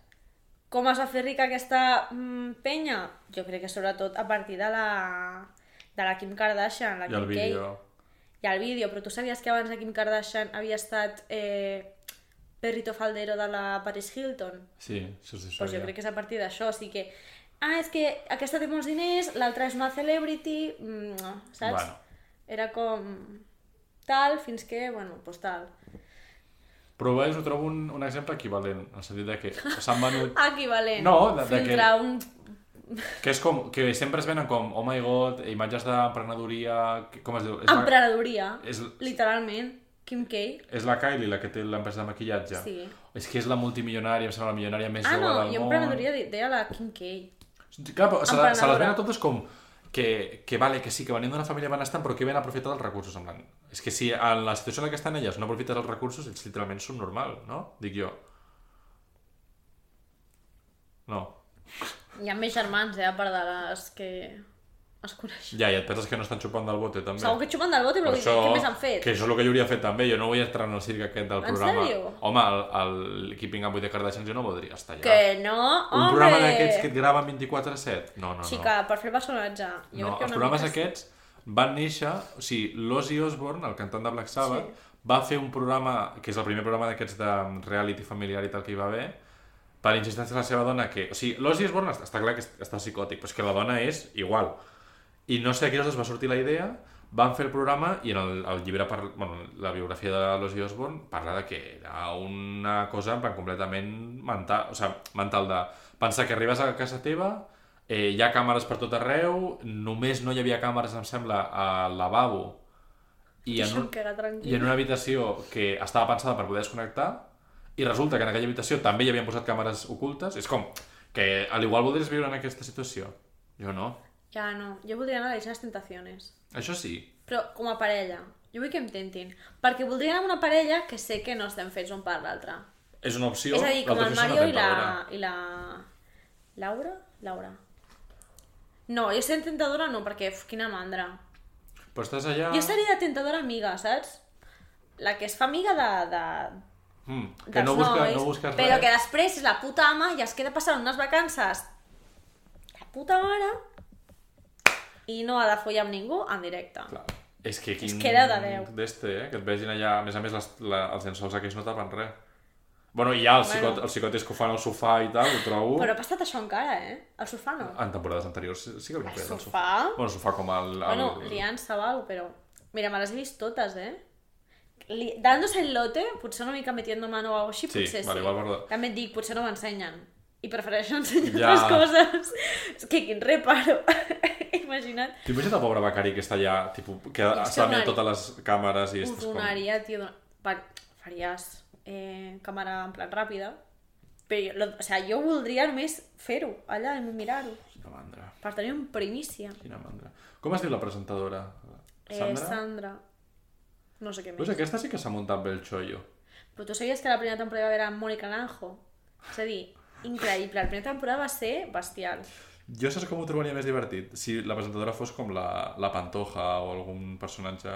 Com es va fer rica aquesta mm, penya? Jo crec que sobretot a partir de la, de la Kim Kardashian, la I el Kim K. vídeo... Hi ha el vídeo, però tu sabies que abans la Kim Kardashian havia estat eh, perrito faldero de la Paris Hilton? Sí, això sí, Doncs jo crec que és a partir d'això, o sigui que... Ah, és que aquesta té molts diners, l'altra és una celebrity, mm, saps? Bueno. Era com tal, fins que, bueno, doncs tal. Però bé, us ho trobo un, un exemple equivalent, en el sentit de que s'han venut... Equivalent. No, de- de que- Filtrar que... un... que és com... Que sempre es venen com, oh my god, imatges d'emprenedoria... que- Com es diu? És la, Emprenedoria, és, literalment. Kim K. és la Kylie la que té l'empresa de maquillatge. Sí. És que és la multimilionària, em sembla la milionària més Ah, jove no, del jo món. emprenedoria de- deia la Kim K. Clar, però se, la- se les Emprenedora. ven a totes com que, que vale, que sí, que venim d'una família benestant, però que ben aprofitat els recursos. En plan. És que si en la situació en la que estan elles no aprofites els recursos, ets literalment subnormal, no? Dic jo. No. Hi ha més germans, eh, a part de les que es coneixen. Ja, i et penses que no estan xupant del bote, també. Segur que xupen del bote, però vull dir, què més han fet? Que això és el que jo hauria fet també, jo no vull entrar en el circ aquest del En programa. sèrio? Home, el, el Keeping Up with the Kardashians jo no voldria estar allà. Que no, Un home! programa d'aquests que et graven 24-7? No, no, no. Xica, per fer personatge. Jo no, crec que els una programes mica sí. aquests van néixer... O sigui, l'Ozzy Osbourne, el cantant de Black Sabbath, va fer un programa, que és el primer programa d'aquests de um, reality familiar i tal que hi va haver, per insistència de la seva dona, que... O sigui, l'Ozzy Osbourne està, està clar que està psicòtic, però és que la dona és igual. I no sé a quines hores va sortir la idea, van fer el programa i en el, el llibre, per, bueno, la biografia de l'Ozzy Osbourne parla de que era una cosa en plan, completament mental, o sigui, mental de pensar que arribes a casa teva, eh, hi ha càmeres per tot arreu, només no hi havia càmeres, em sembla, al lavabo i en, Deixa'm un, cagar tranquil. i en una habitació que estava pensada per poder desconnectar i resulta que en aquella habitació també hi havien posat càmeres ocultes. És com que a l'igual voldries viure en aquesta situació. Jo no. Ja, no. Jo voldria anar a les tentaciones. Això sí, Però com a parella. Jo vull que em tentin. Perquè voldria anar amb una parella que sé que no estem fets un per l'altre. És una opció. És a dir, com l'altra el opció és una Mario i la... tentadora. I la... Laura? Laura. No, jo ser tentadora no, perquè uf, quina mandra. Però estàs allà... Jo seria de tentadora amiga, saps? La que es fa amiga de, de, Mm, que dels no, busca, nois, no busques però res. que després és la puta ama i es queda passant unes vacances la puta mare i no ha de follar amb ningú en directe. Clar. És que quin... És que era de Déu. D'este, eh? Que et vegin allà... A més a més, les, la, els llençols aquests no tapen res. Bueno, i ja els, bueno. Bueno. psicot, els psicotes que ho fan al sofà i tal, ho trobo... Però ha passat això encara, eh? El sofà no. En temporades anteriors sí, sí que havien El fet el sofà. sofà? Bueno, el sofà com el... el... Bueno, liant-se val, però... Mira, me les he vist totes, eh? Li... Dándose el lote, potser una mica metiendo mano o algo així, Sí, potser vale, sí. igual perdó. També et dic, potser no m'ensenyen. I prefereixo ensenyar Ja. altres coses. És que quin reparo. Imagina't. T'ho imagines el pobre becari que està allà, tipus, que que està mirant donaria- totes les càmeres i Ho estàs com... donaria, tio, don- per, faries eh, càmera en plan ràpida, però jo, lo, o sea, jo voldria només fer-ho allà i mirar-ho, Quina mandra, per tenir un primícia. quina mandra. Com es diu la presentadora? Eh, Sandra? Sandra. No sé què més. Veus, aquesta sí que s'ha muntat bé el xollo. Però tu sabies que la primera temporada era Mónica Naranjo? És a dir, increïble. La primera temporada va ser bestial. Jo saps com ho trobaria més divertit? Si la presentadora fos com la, la Pantoja o algun personatge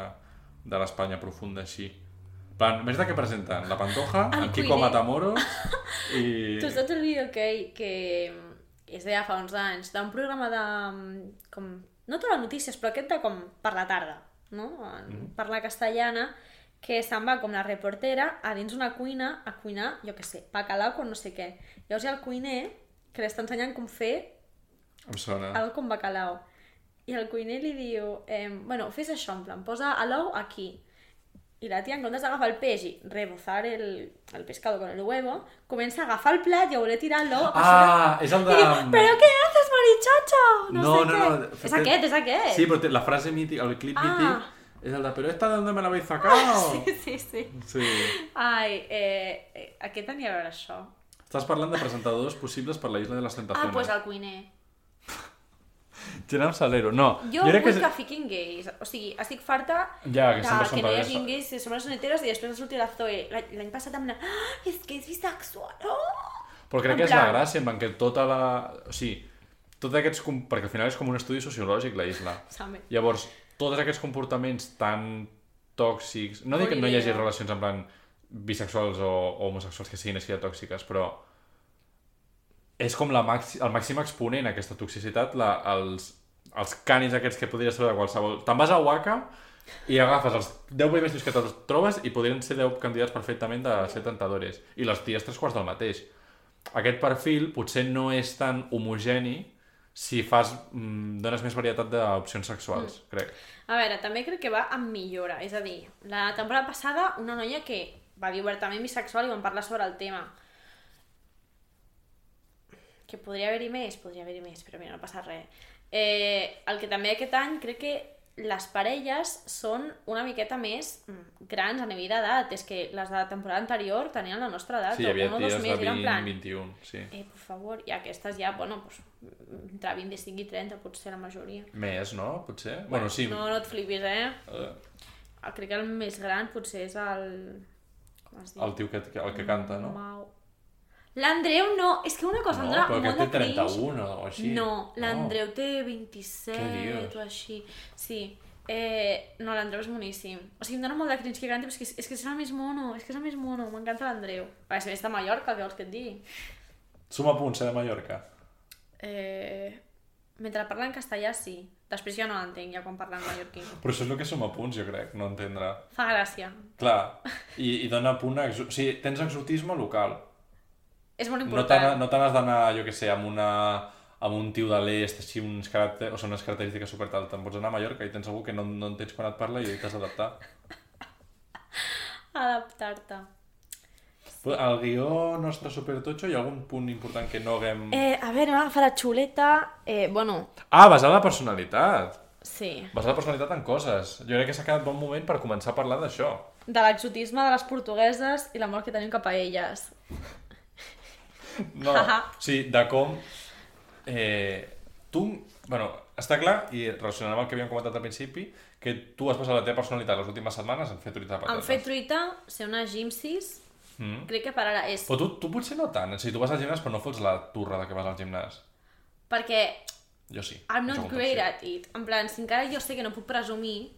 de l'Espanya profunda així. En Plan, més de què presenten? La Pantoja, El el, Kiko cuiner. Matamoros i... Tu saps el vídeo que, que mm, és de fa uns anys, d'un programa de... mm, Com, no tot notícies, però aquest de com per la tarda, no? Mm. Parla castellana, que se'n va com la reportera a dins una cuina a cuinar, jo que sé, bacalao o no sé què. Llavors hi ha el cuiner que li està ensenyant com fer Em sona. algo com bacalao. I el cuiner li diu, eh, bueno, fes això, en plan, posa a l'ou aquí. I la tia, en comptes d'agafar el peix i rebozar el, el pescado con el huevo, comença a agafar el plat i a voler tirar l'ou a sobre. Ah, és el I de... diu, però què haces, marichacho? No, No, sé no, què. no, És aquest, és aquest. Sí, però té la frase mítica, el clip Ah. mític, és el de, però esta de on me l'habéis sacado? Sí, sí, sí. sí. Ai, eh, eh, a què tenia a veure això? Estàs parlant de presentadors possibles per la Isla de les Ah, Tentaciones. doncs pues el cuiner. Gerard Salero, no. Jo, vull crec que, és- fiquin gais. O sigui, estic farta Ja, que de sempre són que no hi parelles. hagin gais, que sempre són heteros, i després sortir la Zoe. L'any- L'any passat em anava, ah, és que és bisexual. Oh! Però crec En que és la plan- gràcia, en plan, que tota la... O sigui, tots aquests... com- Perquè al final és com un estudi sociològic, la isla. Same. Llavors, tots aquests comportaments tan tòxics... No dic que no hi hagi Prohibida. relacions en plan bisexuals o, o homosexuals que siguin així de tòxiques, però és com la màxi, el màxim exponent aquesta toxicitat, la, els, els canis aquests que podries trobar de qualsevol... Te'n vas a Waka i agafes els 10 primers tios que te'ls trobes i podrien ser 10 candidats perfectament de ser tentadores. I les ties tres quarts del mateix. Aquest perfil potser no és tan homogeni si fas, mm, dones més varietat d'opcions sexuals, mm. crec. A veure, també crec que va amb millora. És a dir, la temporada passada, una noia que va dir obertament bisexual i vam parlar sobre el tema. Que podria haver-hi més, podria haver-hi més, però mira, no passa res. Eh, el que també aquest any crec que les parelles són una miqueta més mm, grans a nivell d'edat. És que les de la temporada anterior tenien la nostra edat. Sí, hi o havia un o dos ties de més, i era en 20, plan, 21, sí. Eh, per favor, i aquestes ja, bueno, pues, entre 25 i 30 potser la majoria. Més, no? Potser? Bueno, sí. No, no et flipis, eh? eh, El, crec que el més gran potser és el... Com es diu? El tio que, que- el que canta, no? Mau. L'Andreu no, és que una cosa, em No, dona però molt aquest de té cringe. 31 o així. Oh. No, l'Andreu té Què 27 dius? o així. Sí. Eh, no, l'Andreu és boníssim. O sigui, em dona molt de cringe que canti, però és que, és que és el més mono, és que és el més mono, m'encanta l'Andreu. A més, és de Mallorca, què vols que et digui? Suma punts, eh, de Mallorca. Eh, mentre parla en castellà, sí. Després ja no l'entenc, ja quan parla en mallorquí. Però això és el que suma punts, jo crec, no entendrà. Fa gràcia. Clar, i, i dona punt a... exo- O sigui, tens exotisme local. És molt No te n'ha- important. no te n'has d'anar, jo què sé, amb una amb un tio de l'est, així, uns caràcter... o sigui, unes característiques super tal. Te'n pots anar a Mallorca i tens algú que no, no entens quan et parla i t'has d'adaptar. Adaptar-te. Però El guió nostre supertotxo, hi ha algun punt important que no haguem... Eh, a veure, m'agafa la xuleta. Eh, bueno, Ah, basada en personalitat! sí. Basada en personalitat en coses. Jo crec que s'ha quedat bon moment per començar a parlar d'això. De l'exotisme de les portugueses i l'amor que tenim cap a elles. No, Haha. sí, de com... Eh, tu, bueno, està clar, i relacionant amb el que havíem comentat al principi, que tu has passat la teva personalitat les últimes setmanes en fer truita de Em patates. fer truita, ser una gimsis, Mm. crec que per ara és. Però tu, tu potser no tant, o sigui, tu vas al gimnàs però no fots la turra de que vas al gimnàs. Perquè Jo sí. en I'm not segona great opció. at it. En plan, si encara jo sé que no puc presumir,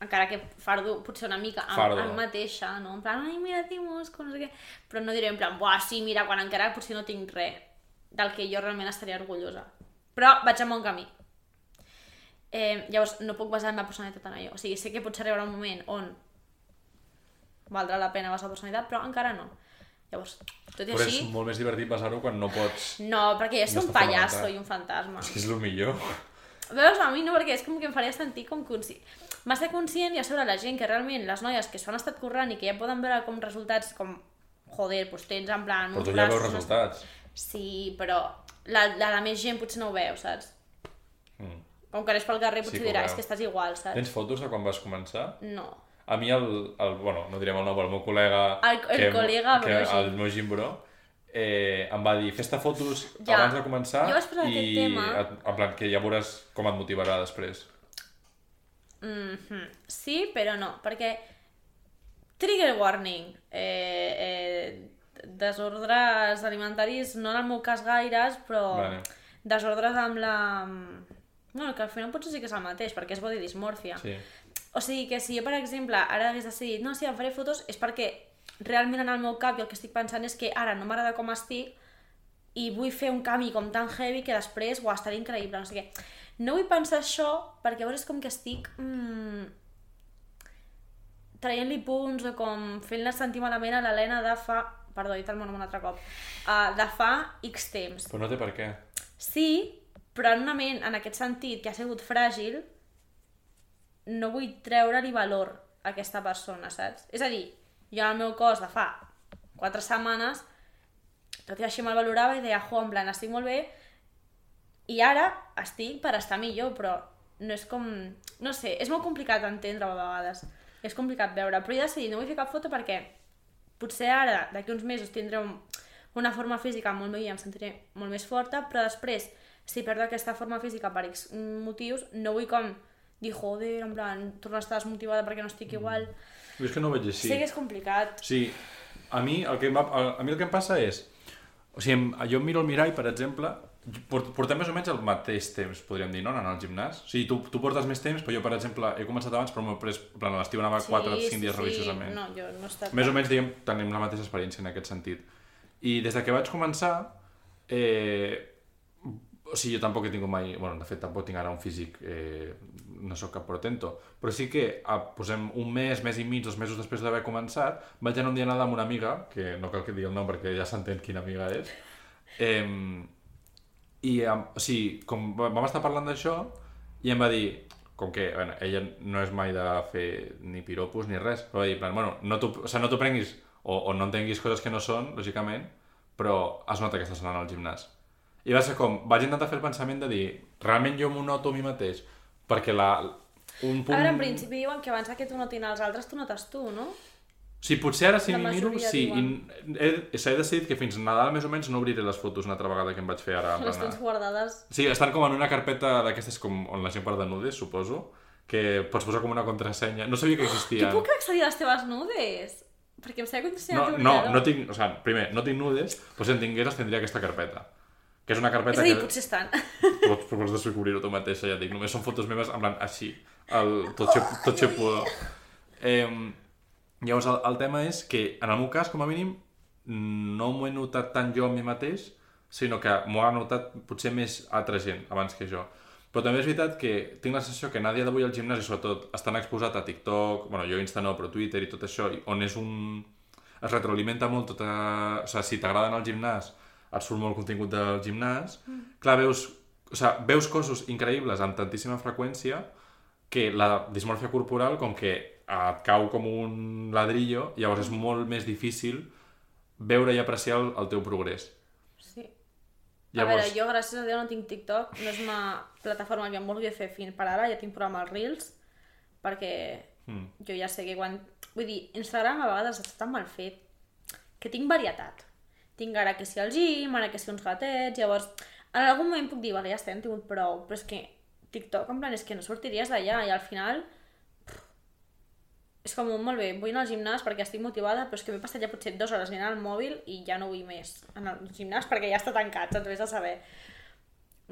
encara que fardo potser una mica amb, Fardo. amb mateixa, no? En plan, ai, mira, tinc múscul, no sé què. Però no diré en plan, buah, sí, mira, quan encara potser no tinc res del que jo realment estaria orgullosa. Però vaig en bon camí. Eh, llavors, no puc basar la meva personalitat en allò. O sigui, sé que potser arribarà un moment on valdrà la pena basar la personalitat, però encara no. Llavors, tot i Però així... és molt més divertit basar-ho quan no pots... No, perquè jo No soc un està pallasso fonamentat. i un fantasma. És que és el millor. Veus, a mi no, perquè és com que em faria sentir com consci... massa conscient i a sobre la gent que realment les noies que s'ho han estat currant i que ja poden veure com resultats com joder, doncs tens en plan... Però uns tu ja veus braços, unes- resultats. Sí, però la, la, la més gent potser no ho veu, saps? Mm. Com que anés pel carrer Sí potser que ho dirà, veu. és que estàs igual, saps? Tens fotos de quan vas començar? No. A mi el, el bueno, no direm el nom, el meu col·lega... El- el col·lega que, Brogi. El meu gimbró, eh, em va dir, fes-te fotos Ja. ja. abans de començar Jo vaig posar i aquest tema. et, en plan que ja veuràs com et motivarà després. Mhm. Sí, però no, perquè... Trigger warning. Eh, eh, desordres alimentaris, no en el meu cas gaires, però... Vale. Desordres amb la... mm, Bueno, que al final potser sí que és el mateix, perquè és body dysmorphia. Sí. O sigui que si jo, per exemple, ara hagués decidit no, sí, em faré fotos, és perquè realment en el meu cap jo el que estic pensant és que ara no m'agrada com estic i vull fer un canvi com tan heavy que després ho estaré increïble, no sé què. No vull pensar això perquè llavors és com que estic mm, traient-li punts o com fent-la sentir malament a l'Helena de fa... Perdó, he dit el meu nom un altre cop. Uh, de fa X temps. Però no té per què. Sí, però en una ment, en aquest sentit, que ha sigut fràgil, no vull treure-li valor a aquesta persona, saps? És a dir, jo en el meu cos de fa quatre setmanes, tot i així me'l valorava i deia, jo, en plan, estic molt bé, i ara estic per estar millor, però no és com... No sé, és molt complicat entendre-ho a vegades. És complicat veure, però he decidit, no vull fer cap foto perquè potser ara, d'aquí uns mesos, tindré un, una forma física molt millor i em sentiré molt més forta, però després, si perdo aquesta forma física per X motius, no vull com dir, joder, en plan, tornar a estar desmotivada perquè no Mm, estic igual. Jo és que no ho vaig Sí, sé que és complicat. Sí, a mi el que, em va- a, a mi el que em passa és... O sigui, em, jo em miro al mirall, per exemple, Por- Portem més o menys el mateix temps, podríem dir, no? Anant al gimnàs. O sigui, tu, tu portes més temps, però jo, per exemple, he començat abans, però m'ho he pres... En plan, a l'estiu anava 4 o 5 dies religiosament. No, jo no està... Més o menys, diguem, tenim la mateixa experiència en aquest sentit. I des de que vaig començar, eh, o sigui, jo tampoc he tingut mai... bueno, de fet, tampoc tinc ara un físic... Eh, no sóc cap portento. Però sí que, a, posem un mes, mes i mig, dos mesos després d'haver començat, vaig anar un dia a nedar amb una amiga, que no cal que digui el nom perquè ja s'entén quina amiga és, eh, i, em- o sigui, com va- vam estar parlant d'això, i em va dir, com que, bueno, ella no és mai de fer ni piropos ni res, però va dir, en plan, bueno, no t'ho o sigui, no t'ho prenguis, o, o no entenguis coses que no són, lògicament, però es nota que estàs anant al gimnàs. I va ser com, vaig intentar fer el pensament de dir, realment jo m'ho noto a mi mateix, perquè la, un punt... Ara, en principi, diuen que abans que tu no tens els altres, tu notes tu, no? Sí, potser ara sí La m'hi miro, majoria sí. I diuen. he, he, he decidit que fins Nadal més o menys no obriré les fotos una altra vegada que em vaig fer ara. en Les plan, tens guardades... Sí, estan com en una carpeta d'aquestes com on la gent parla de nudes, suposo, que pots posar com una contrasenya. No sabia que Jo existia. puc accedir a les teves nudes? Perquè em sembla que ens No, no, no tinc... O sigui, primer, no tinc nudes, però si en tingués les tindria aquesta carpeta. Que és una És carpeta a dir, que... potser estan. Pots, pots descobrir-ho tu mateixa, ja et dic. Només són fotos meves, en plan, així. El tot se, tot se pudo. Eh, llavors, el, el tema és que, en el meu cas, com a mínim, no m'ho he notat tant jo a mi mateix, sinó que m'ho ha notat potser més altra gent abans que jo. Però també és veritat que tinc la sensació que Nadia d'avui al gimnàs i sobretot estan exposat a TikTok, bueno, jo Insta no, però Twitter i tot això, i on és un... es retroalimenta molt tota... O sigui, si t'agrada anar al gimnàs, et surt molt contingut del gimnàs. Mm. Clar, veus... O sigui, veus coses increïbles amb tantíssima freqüència que la dismorfia corporal com que et cau com un ladrillo, llavors és molt més difícil veure i apreciar el, el teu progrés. Sí. A Llavors, veure, jo, gràcies a Déu, no tinc TikTok. No és una plataforma que em vulgui fer fins per ara. Ja tinc programa als Reels, perquè Mm. jo ja sé que quan... Vull dir, Instagram a vegades està tan mal fet que tinc varietat. Tinc ara que si el gym, ara que si uns gatets, llavors... En algun moment puc dir, vale, ja està, hem tingut prou, però és que TikTok, en plan, és que no sortiries d'allà i al final pff, és com un molt bé, vull anar al gimnàs perquè estic motivada, però és que m'he passat ja potser dues hores mirant el mòbil i ja no vull més en el gimnàs perquè ja està tancat, saps? Vés a saber.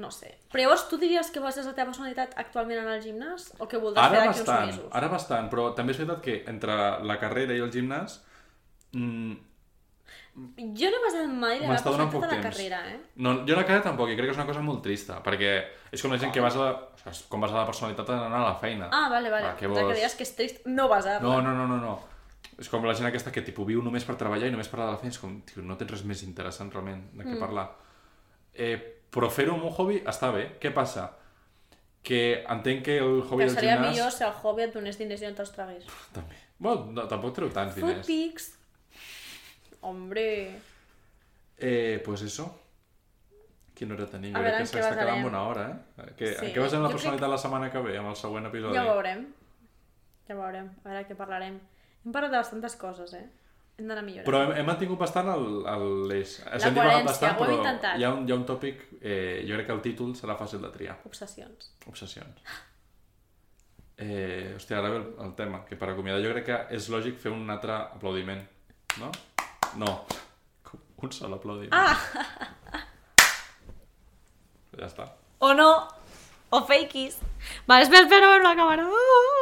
No sé. Però llavors tu diries que vols és la teva personalitat actualment en el gimnàs o que voldràs ara fer d'aquí uns bastant, mesos? ara bastant, però també és veritat que entre la carrera i el gimnàs mm, Jo no he basat mai la M'està donant personalitat poc de la temps. carrera, eh? No, jo la cara tampoc, i crec que és una cosa molt trista, perquè és com la gent que vas a la, o sigui, com vas a la personalitat d'anar a la feina. Ah, vale, vale. Va, Va, què Que vols? deies que és trist no basar-la. No, no, no, no, no. És com la gent aquesta que tipus, viu només per treballar i només parlar de la feina. És com, tio, no tens res més interessant realment de Mm. què parlar. Eh, però fer-ho amb un hobby està bé. Què passa? Que entenc que el hobby que del seria gimnàs... Ah, millor si el hobby et donés diners i no te'ls tragués. També. Bueno, no, tampoc treu tants Food diners. pics. Hombre. Eh, pues eso. Quina hora tenim? A Jo veure, crec que en què s'està quedant basarem? bona hora, eh? Que, sí. Sí. En què basem Jo la crec- personalitat la setmana que ve, amb el següent episodi? Ja ho veurem. Ja ho veurem. A veure què parlarem. Hem parlat de bastantes coses, eh? Hem d'anar millorant. Però hem, hem mantingut bastant el- el- l'eix. Ens hem divagat coherència, bastant, ho hem però intentat. Hi ha un, hi ha un tòpic, eh, jo crec que el títol serà fàcil de triar. Obsessions. Obsessions. Eh, hòstia, ara ve el, el tema, que per acomiadar jo crec que és lògic fer un altre aplaudiment, no? No, Com un sol aplaudiment. Ah! Ja està. O no. O fakis. Va, espera, espera, veure la càmera. Uh!